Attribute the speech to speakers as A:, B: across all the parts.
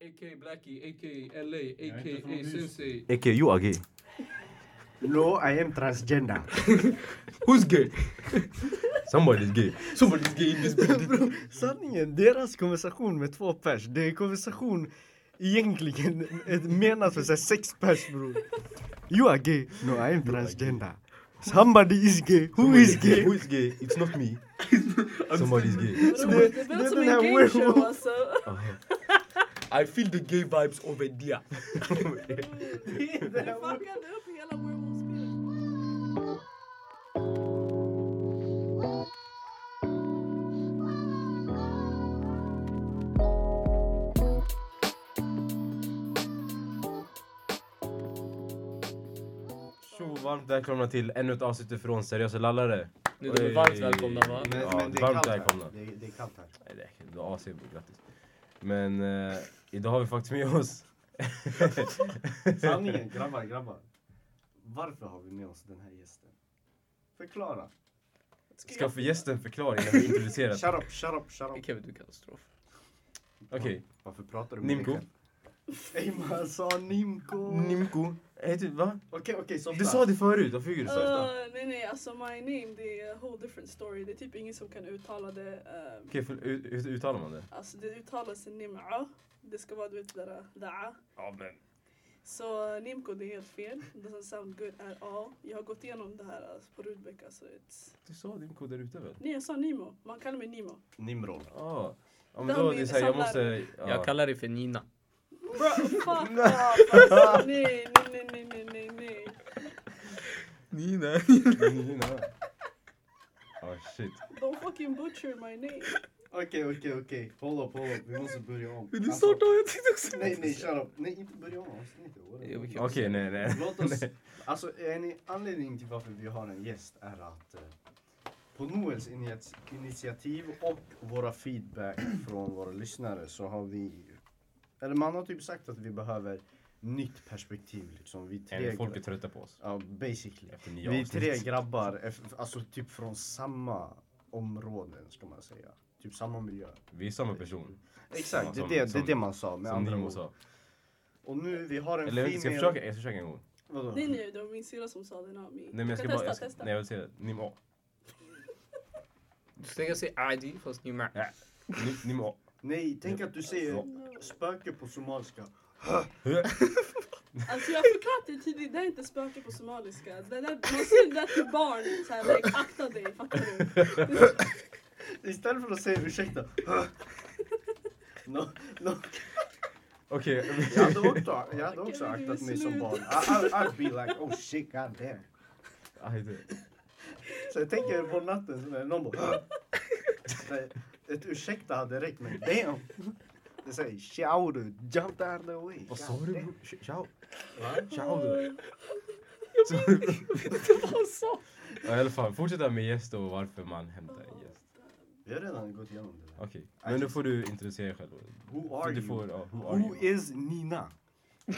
A: aka Blackie, aka LA, aka
B: from this.
A: Sensei.
C: Okay, you are gay.
D: No, I am transgender.
A: Who's gay?
C: Somebody's gay.
A: Somebody's gay in this building.
D: Bro, sanningen, deras konversation med två pers, det är en konversation egentligen ett- menad för så här sex pers bror. You are gay. No, I am transgender. Somebody is gay. Who is gay?
C: Who is gay? It's not me. Somebody's gay.
D: Så
E: Det,
D: det-
E: det
D: det
E: blev
D: är
E: som
D: den
E: en
D: här
E: gay
D: werewolf.
E: show alltså.
A: I feel the gay vibes over there.
E: Det fuckade upp hela werewolf-spelet.
C: Tjo, varmt välkomna till ännu ett avsnitt från Seriösa Lallare.
A: Nu är ni varmt välkomna va?
C: Men- Ja, men det är varmt kallt här. välkomna.
D: Det, är kallt här.
C: Nej, det är- det är AC, grattis. Men eh, idag har vi faktiskt med oss...
D: Sanningen, grabbar, grabbar. Varför har vi med oss den här gästen? Förklara.
C: Ska för gästen förklara innan vi introducerar.
D: Shut up, shut up, shut up.
A: Kevin, du är katastrof.
C: Okej.
D: Varför pratar du
C: Nimko.
D: dig själv? Ey man sa Nimko.
C: Nimko. Heter, typ, va?
D: Okej, okej, softa.
C: Du sa det förut, varför gjorde du så?
A: Eh.
C: Okej,
E: Ah, nej nej alltså my name det är a whole different story. Det är typ ingen som kan uttala det. ehm,
C: för, hur, hur uttalar man det?
E: alltså det uttalas nim'a. Det ska vara du vet det där da'a.
C: Ja, men...
E: Så eh, Nimco det är helt fel. It doesn't sound good at all. Jag har gått igenom det här alltså, på Rudbeck alltså. It's...
C: Du sa Nimko där ute väl?
E: Nej jag sa Nimo. Man kallar mig Nimo.
D: Nimrod.
C: Ja. Ja,
E: Det
C: men
E: har
C: då är
E: vi
C: det så här, jag
E: samlat.
C: måste... Ja.
A: Jag kallar dig för Nina.
E: Bro fuck off alltså. Nej nej nej nej nej nej.
A: Nina?
C: Nina. Ja, shit.
E: Don't fucking butcher my name.
D: Okej, okej, okej. Hold up, hold up. Vi måste börja om. Alltså,
A: Vill du starta? Jag tänkte också...
D: Nej, nej, shut up. Nej, inte börja om avsnittet. What the-
A: Jo, vi kan-
C: Okej, nej, nej.
D: Låt oss... Alltså, är ni, anledningen till varför vi har en gäst är att eh, på Noels init- initiativ och våra feedback från våra lyssnare så har vi... Eller man har typ sagt att vi behöver nytt perspektiv liksom. Vi tre...
C: Nej, Folk är trötta på oss.
D: Ja, basically.
C: Efter nio
D: Vi
C: avsnitt.
D: tre grabbar, är f- alltså typ från samma områden ska man säga. Typ samma miljö.
C: Vi är samma person.
D: Exakt, det är
C: Som-
D: det, det,
C: som-
D: är det man sa med
C: som
D: andra
C: Nimo
D: ord.
C: sa.
D: Och nu, vi har en
C: Eller jag ska jag
D: female-
C: försöka? Jag ska försöka en gång.
D: Vadå?
E: Nej nej det var min syrra som sa det not me.
C: Nej, men
E: Du
C: jag ska
E: kan
C: bara...
E: testa
C: Jag ska,
E: testa.
C: nej, jag vill säga Nimo.
A: Du tänker säga Adi fast Nima.
C: Ni- Nimo.
D: Nej, tänk att du säger spöke på somaliska.
E: Alltså jag har förklarat det tidigt, det är inte spöke på somaliska. Det där, man säger det där till barn, såhär like, akta dig, fattar du?
D: Istället för att säga ursäkta. No, no.
C: Okej.
D: Jag hade också, jag hade också
E: Okej, men
D: aktat
E: det är
D: mig som
E: slut.
D: barn. I, I, I'd be like oh shit god damn.
C: Aj, det-
D: Så jag tänker på natten så när någon bara Nej, Ett ursäkta hade räckt men damn. Det säger ciao du, jump the other way.
C: Vad sa du? bror? Sh- Ciao.
D: Va?
C: Ciao. du. Ja, I alla fall, fortsätt där med gäst och varför man hämtar en gäst.
D: Vi har redan gått igenom det där.
C: Okej, men nu får du introducera dig själv.
D: Who
C: Så
D: are
C: du
D: you?
C: får, ja, who are
D: Who
C: you?
D: is Nina?
E: Well,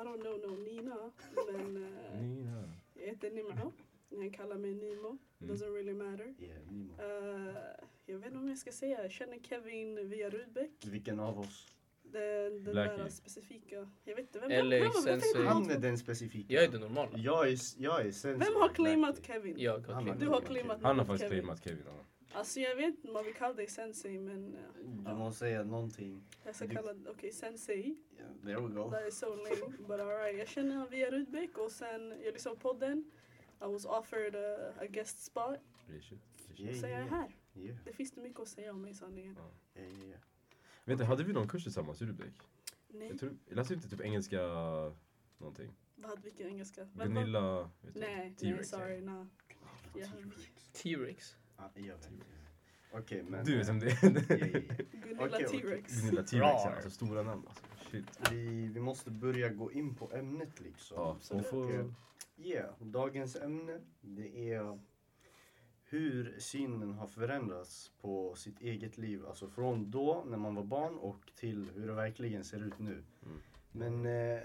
E: I don't know no Nina, men eh,
C: Nina.
E: jag heter Nimro. Ni kallar mig Nimo,
C: Mm.
E: doesn't really matter.
D: Yeah, Nima.
E: Eh, jag vet inte om jag ska säga, jag känner Kevin via Rudbeck.
D: Vilken av oss?
E: Den, den
C: Blackie.
E: där specifika, jag vet inte, vem,
A: LA
E: vem, vem, vem, vem,
A: sensei.
D: Han
E: vem,
D: är den specifika.
A: Jag är den normala.
D: Jag är, jag är sensor.
E: vem har claimat Kevin?
A: Jag har
D: Han
A: klippt.
E: Du har claimat
C: Han har
E: något,
C: faktiskt
E: Kevin.
C: claimat Kevin. ja.
E: Alltså jag vet inte, man vill kalla dig sensei men eh,
D: Du måste säga någonting.
E: jag ska
D: Du- Oh.
E: kalla okej sensei.
D: Yeah, there we go.
E: That is so lame, but alright. Jag känner honom via Rudbeck och sen, jag lyssnade på podden. I was offered a, a guest spot.
C: Det är shit, det är shit.
D: Yeah,
E: Så jag är
D: yeah,
E: här.
D: yeah,
E: Det finns inte mycket att säga om mig sanningen.
D: yeah, yeah, yeah.
C: Vänta, hade vi någon kurs tillsammans i Rubrik?
E: Nej,
C: Jag tror, jag läste inte typ engelska någonting.
E: vad, vilken engelska? Vem var-
C: Gunilla, vet du,
E: Nej, nej
C: T-Rex,
E: sorry, nah. Ja,
A: T-Rex.
D: Ah, jag vet. Okej, men...
C: Du vet
D: eh,
C: vem det är?
D: yeah, yeah, yeah.
E: Gunilla
D: Okej, okej.
E: T-Rex.
C: Gunilla T-Rex, ja, alltså stora namn alltså. Shit.
D: Vi, vi måste börja gå in på ämnet liksom.
C: Ja, hon får...
D: Yeah, dagens ämne det är hur synen har förändrats på sitt eget liv. Alltså från då när man var barn och till hur det verkligen ser ut nu.
C: Mm.
D: Men eh,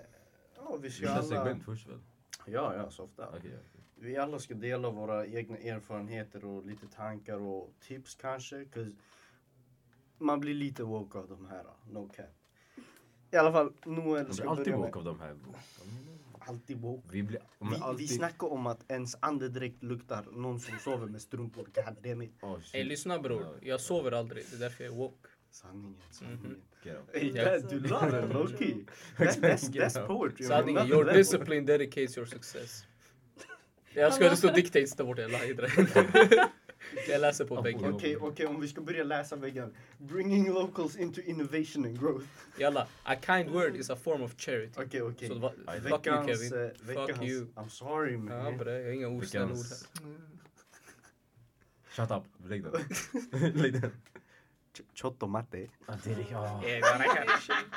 D: ja, vi
C: Vi
D: ska
C: kör
D: alla...
C: segment först väl?
D: Ja, ja, softa.
C: Okej, ja.
D: Vi alla ska dela våra egna erfarenheter och lite tankar och tips kanske. 'cause man blir lite woke av de här. No cap. I alla fall, Noel
C: Man
D: ska
C: blir alltid
D: börja med-
C: woke av de här.
D: Alltid woke.
C: Vi blir
D: Vi,
C: men
D: vi
C: alltid...
D: snackar om att ens andedräkt luktar någon som sover med strumpor. God damn it.
C: Oh,
B: Ey
C: shit.
B: lyssna bror, jag sover aldrig. Det är därför jag är woke.
D: Sanningen, sanningen.
C: Get out.
D: Ey,
B: Ja.
D: där, du la den lowkey. That, that's, that's poetry.
B: Sanningen, your discipline dedicates your success. Jag ska det står dictates där borta, jag lahidrar. Jag läser på väggen.
D: Okej, okej, om vi ska börja läsa väggen. Bringing locals into innovation and growth.
B: Jalla, a kind word is a form of charity.
D: Okej, okej.
B: Så va, fuck you
D: Veckans...
B: Kevin.
D: eh, veckans...
B: you.
D: I'm sorry
B: Ja
D: man.
B: bre, jag har inga osnälla ord här.
C: Veckans... Shut up, lägg den. lägg den.
D: Ch- Chotto matte.
B: Eh, men jag kan-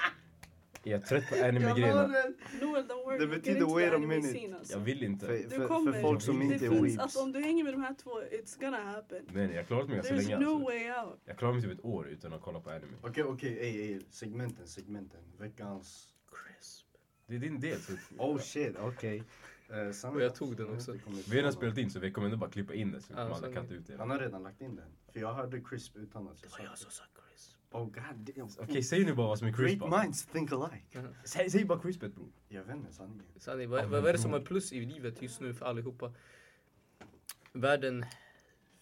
C: Jag är trött på anime-grejerna.
E: Noel, don't worry.
D: Det
E: jag kan
D: betyder
E: inte
D: wait a
E: anime
D: minute.
E: scene, alltså.
C: Jag vill inte.
D: För,
E: Du
D: för,
E: kommer.
D: för folk som
C: Det
E: Det
D: inte är
E: finns,
D: weebs.
E: alltså, om du hänger med de här två, it's gonna happen.
C: Nej, nej, jag har klarat mig ganska länge.
E: There's no
C: Alltså.
E: way out.
C: Jag klarar mig typ ett år utan att kolla på anime.
D: Okej, okej, ey, ey. Segmenten, segmenten. Veckans...
B: Crisp.
C: Det är din del. Så...
D: Oh shit, okej. Eh, Sandra-
B: Och jag tog den också.
D: Jag har inte kommit
C: Vi har redan
D: på
C: spelat in så vi kommer ändå bara klippa in det så vi
B: Ja,
C: kommer
B: så-
C: aldrig katta ut det.
D: någon. Han har redan lagt in den. För jag hörde crisp utan att jag sa det.
B: sa crisp.
D: Oh god damn.
C: Okej, säg nu bara vad som är crisp.
D: Great minds think alike.
C: Säg, säg bara crispet bror.
D: Jag vet inte sanningen.
B: Sanni, vad, vad är det som är plus i livet just nu för allihopa? Världen,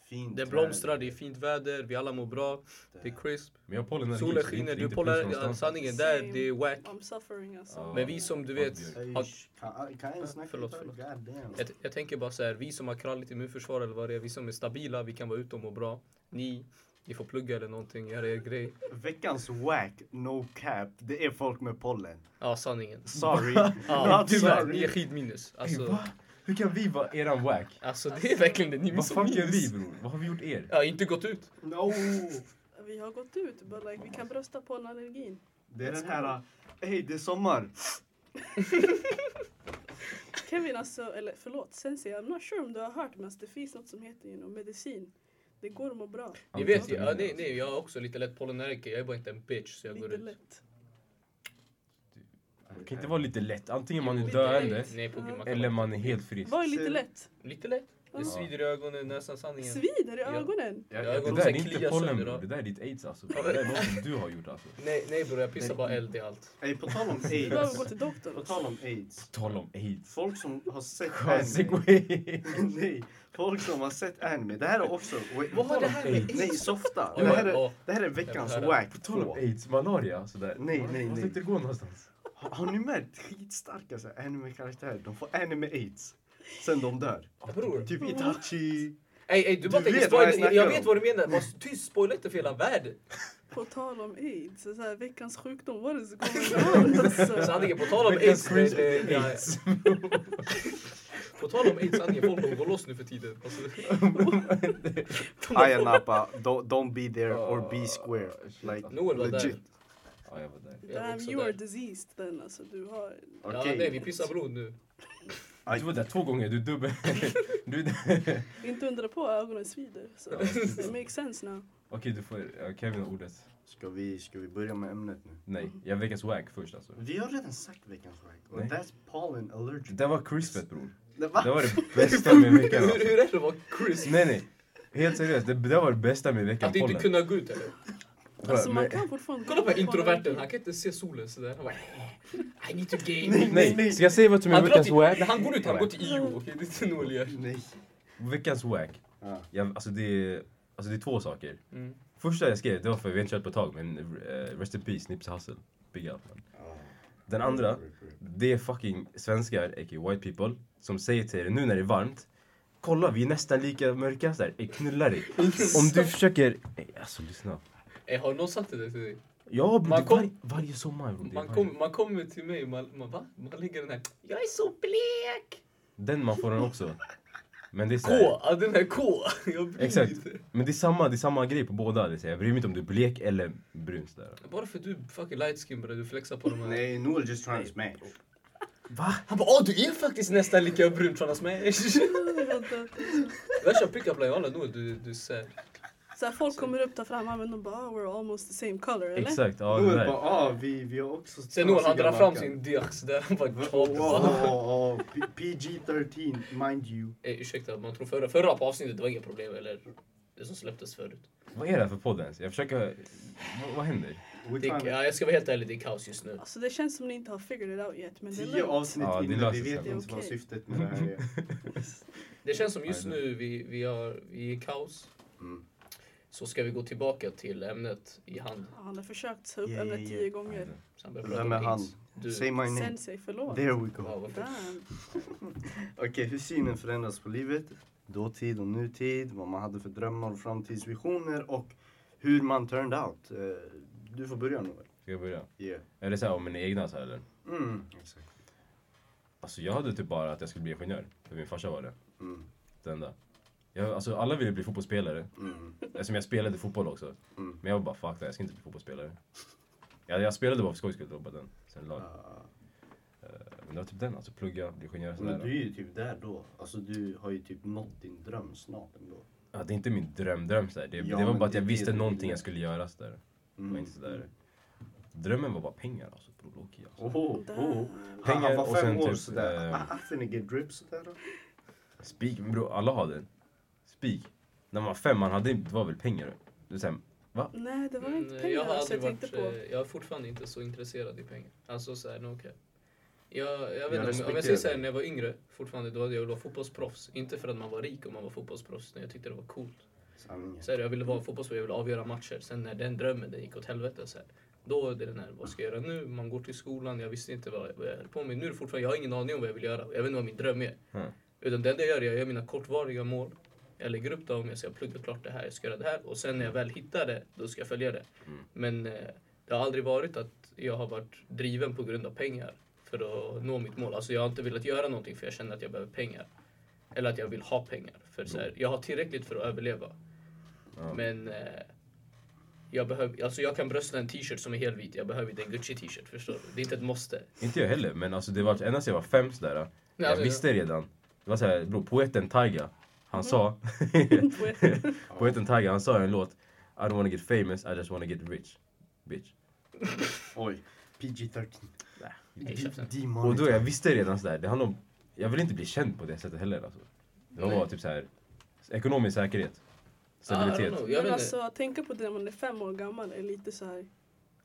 D: Fint.
B: den blomstrar, det är fint väder, vi alla mår bra, det är crisp.
C: Men jag har pollenallergi. så det är inte-
B: Solen skiner,
C: det är
B: du
C: inte
B: pollar,
C: plus
B: ja,
C: någonstans.
B: sanningen där, det är wack.
E: I'm suffering alltså.
C: Ja.
B: Men vi som du vet, har,
D: Eish, Kan kan jag ens snacka?
B: Förlåt,
D: ett tag?
B: förlåt.
D: God damn.
B: jag, jag tänker bara så här, vi som har kralligt immunförsvar eller vad det är, vi som är stabila, vi kan vara ute och må bra. Ni, ni får plugga eller någonting, göra er grej.
D: Veckans wack, no cap, det är folk med pollen.
B: Ja, sanningen.
D: Sorry.
B: Ja,
D: Not
B: tyvärr, ni
D: sorry.
B: är skitminus.
C: Ey,
B: Alltså,
C: va? Hur kan vi vara eran wack?
B: alltså det är verkligen det, ni är
C: Vad
B: som
C: fan gör
B: minus.
C: vi bror? Vad har vi gjort er?
B: Ja, inte gått ut.
D: No.
E: Vi har gått ut, but like, vi kan brösta på en allergin.
D: Det är den här, hej det är sommar.
E: Kevin, alltså, eller förlåt, Sensi, I'm not sure om du har hört, men alltså, det finns något som heter you know, medicin. Det går att må bra.
B: Ni vet ju, ja, nej, nej, jag har också lite lätt pollenallergi. Jag är bara inte en bitch så jag går
E: Lite
B: ut.
E: lätt.
C: Det kan inte vara lite lätt. Antingen man är
E: Lite
C: döende
E: lätt.
B: Nej, på gud, man kan
C: eller
B: vara-
C: man är helt frisk.
E: Vad är lite lätt?
B: Lite lätt.
E: Ja.
B: Det svider i ögonen, näsan, sanningen.
E: Svider i
B: Ja.
E: ögonen.
D: Jag,
B: Ja,
D: jag,
B: jag
C: Det
D: tror-
B: går-
C: där är
B: Som
C: inte
B: kliar
C: pollen
B: sönder
C: bror.
B: då.
C: Det där är ditt aids alltså. Det där är något som du har gjort alltså.
B: Nej, nej bror, jag pissar bara eld i allt.
D: Ey, på tal om
E: Du behöver gå
D: aids.
E: till doktorn.
D: På
E: alltså.
D: tal om aids.
C: Tala om aids.
D: Folk som har sett
C: Skön
D: anime.
C: segway.
D: Nej, folk som har sett anime. Det här är också... Wait,
B: Vad har det här med
D: Nej, softa.
B: Ja,
D: Det här är,
B: ja.
D: det här är veckans
B: Jag vill höra.
D: wack.
C: På tal om aids, malaria sådär.
D: Nej, nej,
C: Vart
D: nej.
C: tänkte det gå någonstans?
D: Har, har ni märkt skitstarka så här anime-karaktärer? De får anime-aids. Sen de dör.
B: Bror.
D: Typ Itachi.
B: Ey, ey, du bara
D: Du
B: tänker
D: vet vad jag
B: spoiler. Jag,
D: snackar
B: jag
D: om.
B: vet vad du menar. Var tyst, spoila inte för hela världen.
E: På tal om aids, så här, veckans sjukdom, what is going on? Alltså,
B: Sanningen, på tal om aids.
C: Veckans
B: Det,
C: cringe
B: det,
C: är
B: det,
C: aids.
B: på tal om aids, sanningen. Folk kommer gå loss nu för tiden. Alltså,
D: Aya Napa, don't, don't be there or be
C: Ah,
D: square.
C: shit,
D: Like,
C: alltså.
B: Noel var
D: legit.
B: där.
C: Ja, jag var där.
B: Jag var
E: damn,
B: också
E: you are
B: där.
E: diseased then. Alltså, du har...
B: Ja,
D: Okej.
B: nej, vi pissar blod nu.
D: Aj.
C: Du var där två gånger, du är dubbel. Du är där.
E: Inte undra på ögonen svider. Så it makes sense now.
C: Okej, du får ja, Kevin har ordet.
D: Ska vi, ska vi börja med ämnet nu?
C: Nej, jag veckans wag först alltså.
D: Vi har redan sagt veckans wack. Och
C: Nej.
D: that's pollen allergic.
C: Det där var crispet bror.
D: Va?
C: Det var det bästa med veckan.
B: Hur,
C: Alltså.
B: hur är det att vara Chris?
C: Nej nej, helt seriöst. Det där var det bästa med veckan.
B: Att inte
C: pollen.
B: kunna gå ut eller?
E: Alltså,
C: Men-
E: man kan fortfarande...
B: Kolla på
E: gå
B: introverten, han kan inte se solen sådär. Han bara I need to game.
D: Nej,
C: Nej, ska jag säga vad som är
B: Han, drar
C: veckans
B: till,
C: wag?
B: när han går ut, han går till IO. Okej, det är inte Noel gör.
D: Nej.
C: Veckans wag.
D: Ja.
C: Jag, alltså, det är, alltså det är två saker.
B: Mm.
C: Första jag skrev, det var för vi har inte kört på ett tag, men eh, Rest in Peace, Nipsey Hussle. Big up man. Den andra, det är fucking svenskar, a.k.a. white people, som säger till er nu när det är varmt Kolla, vi är nästan lika mörka sådär. Ey, knulla dig. Om du försöker... Ey, alltså lyssna.
B: Eh, Har någon sagt det där till dig?
C: Ja, bro,
B: Man
C: det är var,
B: kom-
C: varje sommar. Bro, det är
B: Man,
C: varje-
B: kom, man kommer till mig man, man, va? man lägger den här Jag är så blek!
C: Den man får den också. Men det är
B: K!
C: såhär-
B: Ja, den här K! Jag bryr mig
C: Exakt.
B: inte.
C: Men det är, samma, det är samma grej på båda. Det är så här, jag bryr mig inte om du är blek eller brun. Sådär.
B: Bara för att du är fucking light skin bre, du flexar på de här.
D: Nej, Noel just trying to smash.
C: Va?
B: Han bara åh du är faktiskt nästan lika brun från smash.
E: fortfarande- Vänta.
B: Värsta pickup line, alla Noel du, du är såhär.
E: Så här, folk kommer upp, tar fram armen och bara ah, we're almost the same color, eller?
C: Exakt. Ja, det
D: Noel
C: där.
D: bara, ah, vi, vi har också...
B: Sen Noel han
D: trasiga
B: drar fram
D: backar."
B: sin dirks där, han bara
D: Wow,
B: "Klart, va?"
D: wow, wow. P- PG-13, mind you.
B: Eh, ursäkta, man tror förra, förra på avsnittet det var inga problem eller? Det som släpptes förut.
C: Vad är det här för podd ens? Jag försöker... Vad, vad händer?
B: Det, är- ja, jag ska vara helt ärlig, det är kaos just nu.
E: Alltså det känns som ni inte har figured it out yet men det är
D: Tio
E: lugnt.
D: avsnitt
C: Ja, det
D: in,
C: löser
D: vi
C: sig.
D: vet
E: Det är
D: inte vad
E: okej.
D: syftet med det här är.
B: Det känns som just nu vi, vi, har, vi är i kaos.
D: Mm.
B: Så ska vi gå tillbaka till ämnet i hand.
E: Ja, Han har försökt ta upp
D: Yeah,
E: ämnet
D: yeah,
E: tio
D: yeah.
E: gånger.
B: Så han börjar prata
D: Vem är
B: om
D: han?
B: aids. Du.
D: Say my name.
E: Sensei, förlåt.
D: There we go.
B: Ja, varför?
E: Damn.
D: Okej, hur synen förändras på livet, dåtid och nutid, vad man hade för drömmar och framtidsvisioner och hur man turned out. Eh, Du får börja Noel.
C: Ska jag börja?
D: Yeah.
C: Är det så här om mina egna så här, eller?
D: Mm. Exakt.
C: Alltså jag hade typ bara att jag skulle bli ingenjör. För min farsa var det.
D: Mm.
C: Det enda. Jag, alltså alla ville bli fotbollsspelare.
D: Mm.
C: Eftersom jag spelade fotboll också.
D: Mm.
C: Men jag var bara fuck det, jag ska inte bli fotbollsspelare. Jag, jag spelade bara för skojs skull då, bara den. Sen lag.
D: Ah.
C: Men det var typ den alltså, plugga, bli ingenjör
D: Men du
C: sådär.
D: är ju typ där då. Alltså du har ju typ nått din dröm snart ändå.
C: Ja, det är inte min drömdröm sådär. Det,
D: Ja,
C: det var
D: men
C: bara att
D: det
C: jag
D: är
C: visste
D: det du
C: någonting
D: vill.
C: jag skulle göra sådär. Det var
D: Mm.
C: inte sådär. Drömmen var bara pengar alltså, bror. Loki, alltså.
D: Oho, oho.
E: Damn.
D: Han, han
C: Pengar
D: var
C: och
D: oh. fem
C: sen
D: år
C: typ,
D: sådär.
C: eh,
D: Ah, ah, finna get drip sådär. då.
C: Spik, men bror alla har den. Spik. När man var fem, man hade inte, det var väl pengar. Det är såhär,
E: Nej, det var inte
B: Mm, Jag, har
E: pengar alltså,
B: aldrig
E: jag tänkte
B: varit,
E: på.
B: eh, jag är fortfarande inte så intresserad i pengar. Alltså såhär, no okay. Jag, jag
C: Jag
B: vet inte, om- om
C: respekterar
B: jag säger
C: det.
B: såhär, när jag var yngre fortfarande, då hade jag velat vara fotbollsproffs. Inte för att man var rik om man var fotbollsproffs, utan jag tyckte det var coolt.
D: Sanningen.
B: Så här, jag ville vara fotbollsproffs, jag ville avgöra matcher. Sen när den drömmen den gick åt helvete, så här, då är det den här, vad ska jag göra nu? Man går till skolan, jag visste inte vad jag, vad jag höll på med. Nu är det fortfarande, jag har ingen aning om vad jag vill göra. Jag vet inte vad min dröm är.
C: Mm.
B: Utan det enda jag gör, är jag gör mina kortvariga mål. Jag lägger upp dem, jag ska plugga klart det här, jag ska göra det här. Och sen när jag väl hittar det, då ska jag följa det. Men eh, det har aldrig varit att jag har varit driven på grund av pengar för att nå mitt mål. Alltså jag har inte velat göra någonting för jag känner att jag behöver pengar. Eller att jag vill ha pengar. För så här, jag har tillräckligt för att överleva.
C: Ja.
B: Men eh, jag, behöver, alltså jag kan brösta en t-shirt som är helvit. Jag behöver inte en Gucci t-shirt, förstår du? Det är inte ett måste.
C: Inte jag heller, men alltså det var ända sedan jag var fem sådär.
B: Nej,
C: jag
B: alltså-
C: visste redan. Det var såhär, bror poeten Taiga, han sa, poeten Taiga, han sa i en låt I don't wanna get famous, I just wanna get rich. Bitch.
D: Oj. PG-13.
B: Nej, käften.
D: typ Demon.
C: Och då jag visste redan sådär, det handlar om, jag vill inte bli känd på det sättet heller alltså. Det var bara typ såhär, ekonomisk säkerhet.
B: Ah, I
C: Stabilitet.
B: don't know,
E: Men
B: jag vet inte.
E: alltså att tänka på det när man är fem år gammal är lite så här.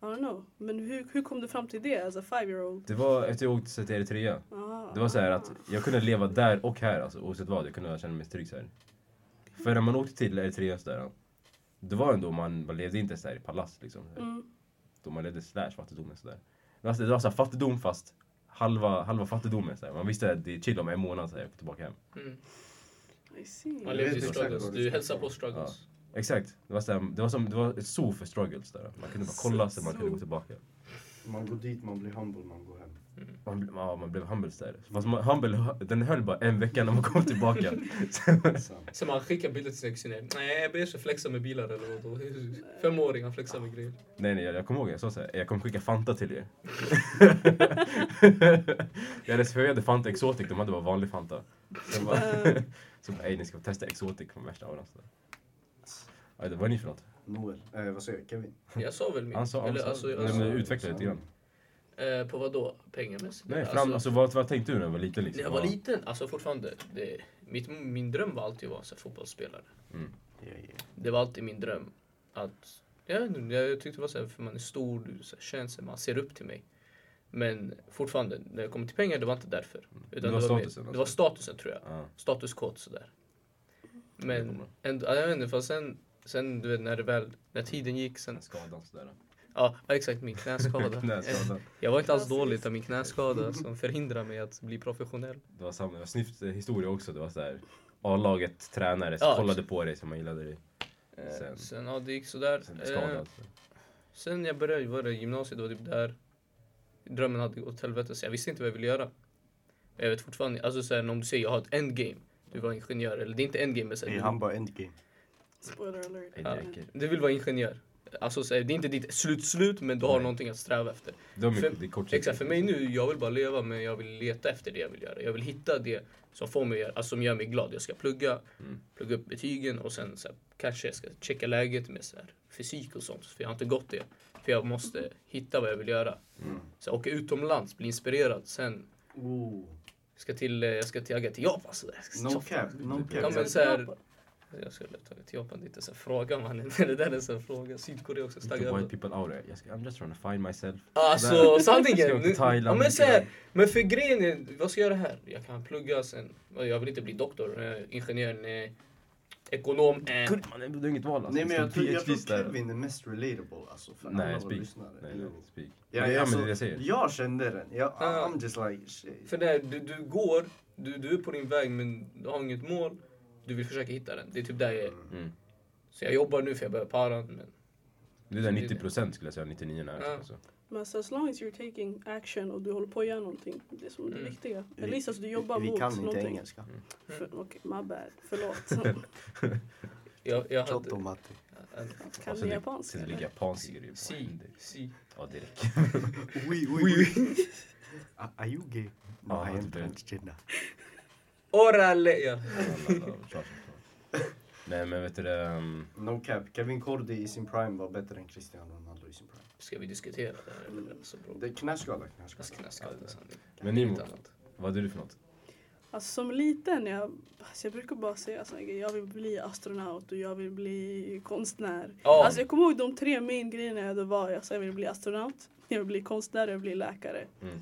E: I don't know. Men hur, hur kom du fram till det as a five year old?
C: det var efter jag åkte till Eritrea.
E: Ah.
C: Det var så här att jag kunde leva där och här, alltså, oavsett vad. Jag kunde känna mig trygg så här. För när man åkte till Eritrea så där, det var ändå man, man levde inte så här i palats liksom.
E: Mm.
C: Då man levde slash fattigdomen så där. Det var, så- det var så här, fattigdom fast halva, halva fattigdomen. Så här. Man visste att det är chill om en månad så här, jag får tillbaka hem.
B: Mm.
E: I see.
B: Man lever
D: vet
B: i
D: exakt
B: struggles.
D: vad du
B: Du
D: ska
B: hälsar på
D: säga.
B: struggles.
C: Exakt. Det var, så här, det var, som, det var ett zoo för struggles där. Man kunde bara kolla så man kunde gå
E: Zoo.
C: tillbaka.
D: Man går dit, man blir humble, man går hem.
C: Man, ble- ja, man blev humble där. Fast man, humble, den höll bara en vecka när man kom tillbaka. Sen-
D: Sant.
B: Så man skickar bilder till sina kusiner. Nej, jag ber sig flexa med bilar eller vad då. Femåring, han flexar med grejer.
C: Nej, nej, jag, jag kommer ihåg, jag sa såhär, jag kommer skicka Fanta till er. jag hade för jag hade Fanta Exotic, de hade bara vanlig Fanta. Så jag bara, så bara, ey ni ska testa Exotic från värsta öronen. Aj, det var ni för något?
D: Noel. Eh, vad säger jag? Kevin?
B: Jag sa väl mitt.
C: Han sa, han
B: eller,
C: sa,
B: alltså,
C: nej,
B: alltså,
C: men utveckla lite grann.
B: eh, på vad då? Pengamässigt?
C: Nej, fram, alltså vad, vad tänkte du när du var liten liksom?
B: När jag var liten, alltså fortfarande, det, mitt, min dröm var alltid att vara så här fotbollsspelare.
D: Yeah, yeah.
B: Det var alltid min dröm att, jag vet inte, jag tyckte det var så här, för man är stor, du så här, känns det, man ser upp till mig. Men fortfarande, när det kommer till pengar, det var inte därför. Utan
C: Det var
B: mer-
C: statusen,
B: Det
C: alltså.
B: var statusen tror jag.
C: Ja.
B: Statuskåt sådär.
C: Det
B: Men
C: kommer.
B: ändå, ja, jag vet inte, fast sen, sen du vet när det väl, när tiden gick sen.
C: Skadan sådär.
B: Ja, exakt min knäskada.
C: Knäskadan.
B: jag var inte alls dålig utan min knäskada som förhindrar mig att bli professionell.
C: Det var samma, det var snyft eh, historia också. Det var såhär, A-laget tränare
B: Ja,
C: kollade på dig som man gillade dig.
B: Eh,
C: Sen-
B: Sen, ja det gick sådär.
C: Sen
B: Eh,
C: skadad.
B: Sen jag började vara i gymnasiet, det var typ där drömmen hade gått åt helvete. Så jag visste inte vad jag ville göra. Och Jag vet fortfarande, alltså så här, om du säger jag har ett endgame, du var ingenjör, eller det är inte endgame men så här,
D: Är
B: du-
D: han bara endgame?
E: Spoiler alert.
C: Nej, det
B: ja,
C: räcker.
B: du vill vara ingenjör. Alltså så här, det är inte ditt slut-slut men du har
C: Nej.
B: någonting att sträva efter.
C: Det var
B: För-
C: mycket, det är kortsiktigt.
B: Exakt, för mig nu, jag vill bara leva men jag vill leta efter det jag vill göra. Jag vill hitta det som får mig, alltså, som gör mig glad. Jag ska plugga, plugga upp betygen och sen så här, kanske jag ska checka läget med så här, fysik och sånt. För jag har inte gått det. För jag måste hitta vad jag vill göra.
C: Mm.
B: Så här, åka utomlands, bli inspirerad. Sen
D: Oh.
B: ska till, eh, jag ska tagga till Japan. Så där. Jag ska
D: No
B: tjoffa.
D: cap, no
C: Ja,
B: Ja,
D: cap.
B: men så här, Jag skulle ta till Japan, det är inte så här fråga mannen. Det där är en sån här fråga. Sydkorea också,
C: Lite
B: stagga
C: white
B: över.
C: people aura. Jag ska, I'm just trying to find myself.
B: Alltså
C: Sådär. Ska
B: sanningen!
C: åka till
B: Nu- Ja,
C: Thailand,
B: men, så
C: Thailand.
B: här, men för grejen är, vad ska jag göra här? Jag kan plugga sen. Jag vill inte bli doktor, nej. ingenjör, nej. Ekonom, eh. nej.
C: Kul, man, det är inget val alltså.
D: Nej men jag tror, jag
C: PhD
D: tror
C: där.
D: Kevin är mest relatable alltså för alla
C: Nej,
D: våra
C: speak.
D: lyssnare.
C: Nej, nej, speak.
D: Ja,
C: Nej, ja,
D: alltså,
C: men det är det jag säger.
D: jag kände den. Jag,
B: Ja.
D: I'm just like shit.
B: För det här, du, du går, du, du är på din väg men du har inget mål. Du vill försöka hitta den. Det är typ där jag är.
C: Mm.
B: Så jag jobbar nu för jag börjar paran. Men
C: Det är där 90 procent skulle jag säga, 99 när.
B: Ja.
C: Alltså.
E: Men så as long as you're taking action och du håller på att göra någonting. Det är som det
B: Mm.
E: viktiga.
D: Vi-
E: Eller alltså du jobbar
D: vi,
E: mot
D: vi kan inte
E: någonting.
D: engelska.
E: För- Okej, my bad. Förlåt.
B: jag, jag hade...
D: Chotto matte.
B: en-
E: kan
C: Och sen
E: du
C: Alltså, det-
E: japanska?
C: Sen det ligger japanska grejer på.
B: Si,
C: Det-
B: si.
C: Ja, det räcker.
D: Oui, oui, oui. A- Are you gay? No,
C: Ja,
D: I am
C: typ det.
D: transgender.
B: Orale! Ja.
C: Kör, kör, kör. Nej men vet du det... ehm,
D: No cap. Kevin Kordi i sin prime var bättre än Cristiano Ronaldo i sin prime.
B: Ska vi diskutera det här eller? Så bra.
D: Det är knäskada,
B: Fast
D: knäskada.
B: knaskande sanning.
C: Men
B: Det är
C: Nimo.
B: inget annat.
C: Vad är du för något?
E: Alltså som liten, jag, alltså, jag brukar bara säga såna här grejer. jag vill bli astronaut och jag vill bli konstnär.
B: Ja.
E: Alltså jag kommer ihåg de tre main grejerna jag hade var, alltså, jag vill bli astronaut, jag vill bli konstnär och jag vill bli läkare.
C: Mm.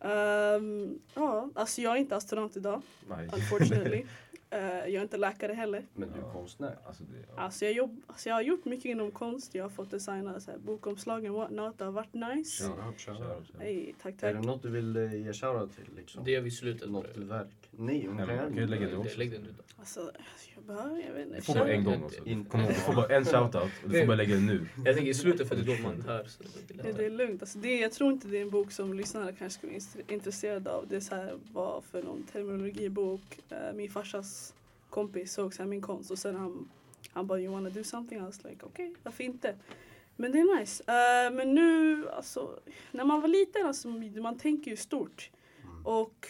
E: Ehm, ja, alltså jag är inte astronaut idag,
C: Nej.
E: unfortunately. Eh, jag är inte läkare heller.
D: Men du är
C: Ja.
D: konstnär.
C: Alltså det... ja.
E: Alltså jag, jobb, alltså jag har gjort mycket inom konst, jag har fått designa så här, bokomslagen och whatnot, det har varit nice.
D: Shout out, shout out.
C: Kör, kör.
E: Hej, tack
D: Är
E: tack.
D: det något du vill eh, ge shoutout till? Liksom?
B: Det är vi i slutet. på
D: Något
B: det.
D: verk? Nej, hon
C: men
D: kan
C: man kan
D: ju
C: ju lägga det
B: Det-
C: också.
B: Lägg den nu då.
E: Alltså jag behöver, jag vet inte.
C: Du får bara en
E: Känner-
C: gång också.
D: Inte.
C: Kom ihåg, du får bara en shoutout och du får bara lägga den nu.
B: Jag tänker i slutet för det är då man hör. Så det blir
E: Nej,
B: lättare.
E: det är lugnt. Alltså, det, jag tror inte det är en bok som lyssnarna kanske skulle vara inst- intresserade av. Det är så här, vad för någon terminologibok. Eh, min farsas kompis såg så här, min konst och sen han, han bara “you wanna do something?” I was like “okej, varför inte?” Men det är nice. Eh, men nu, alltså, när man var liten, alltså, man tänker ju stort.
D: Mm.
E: Och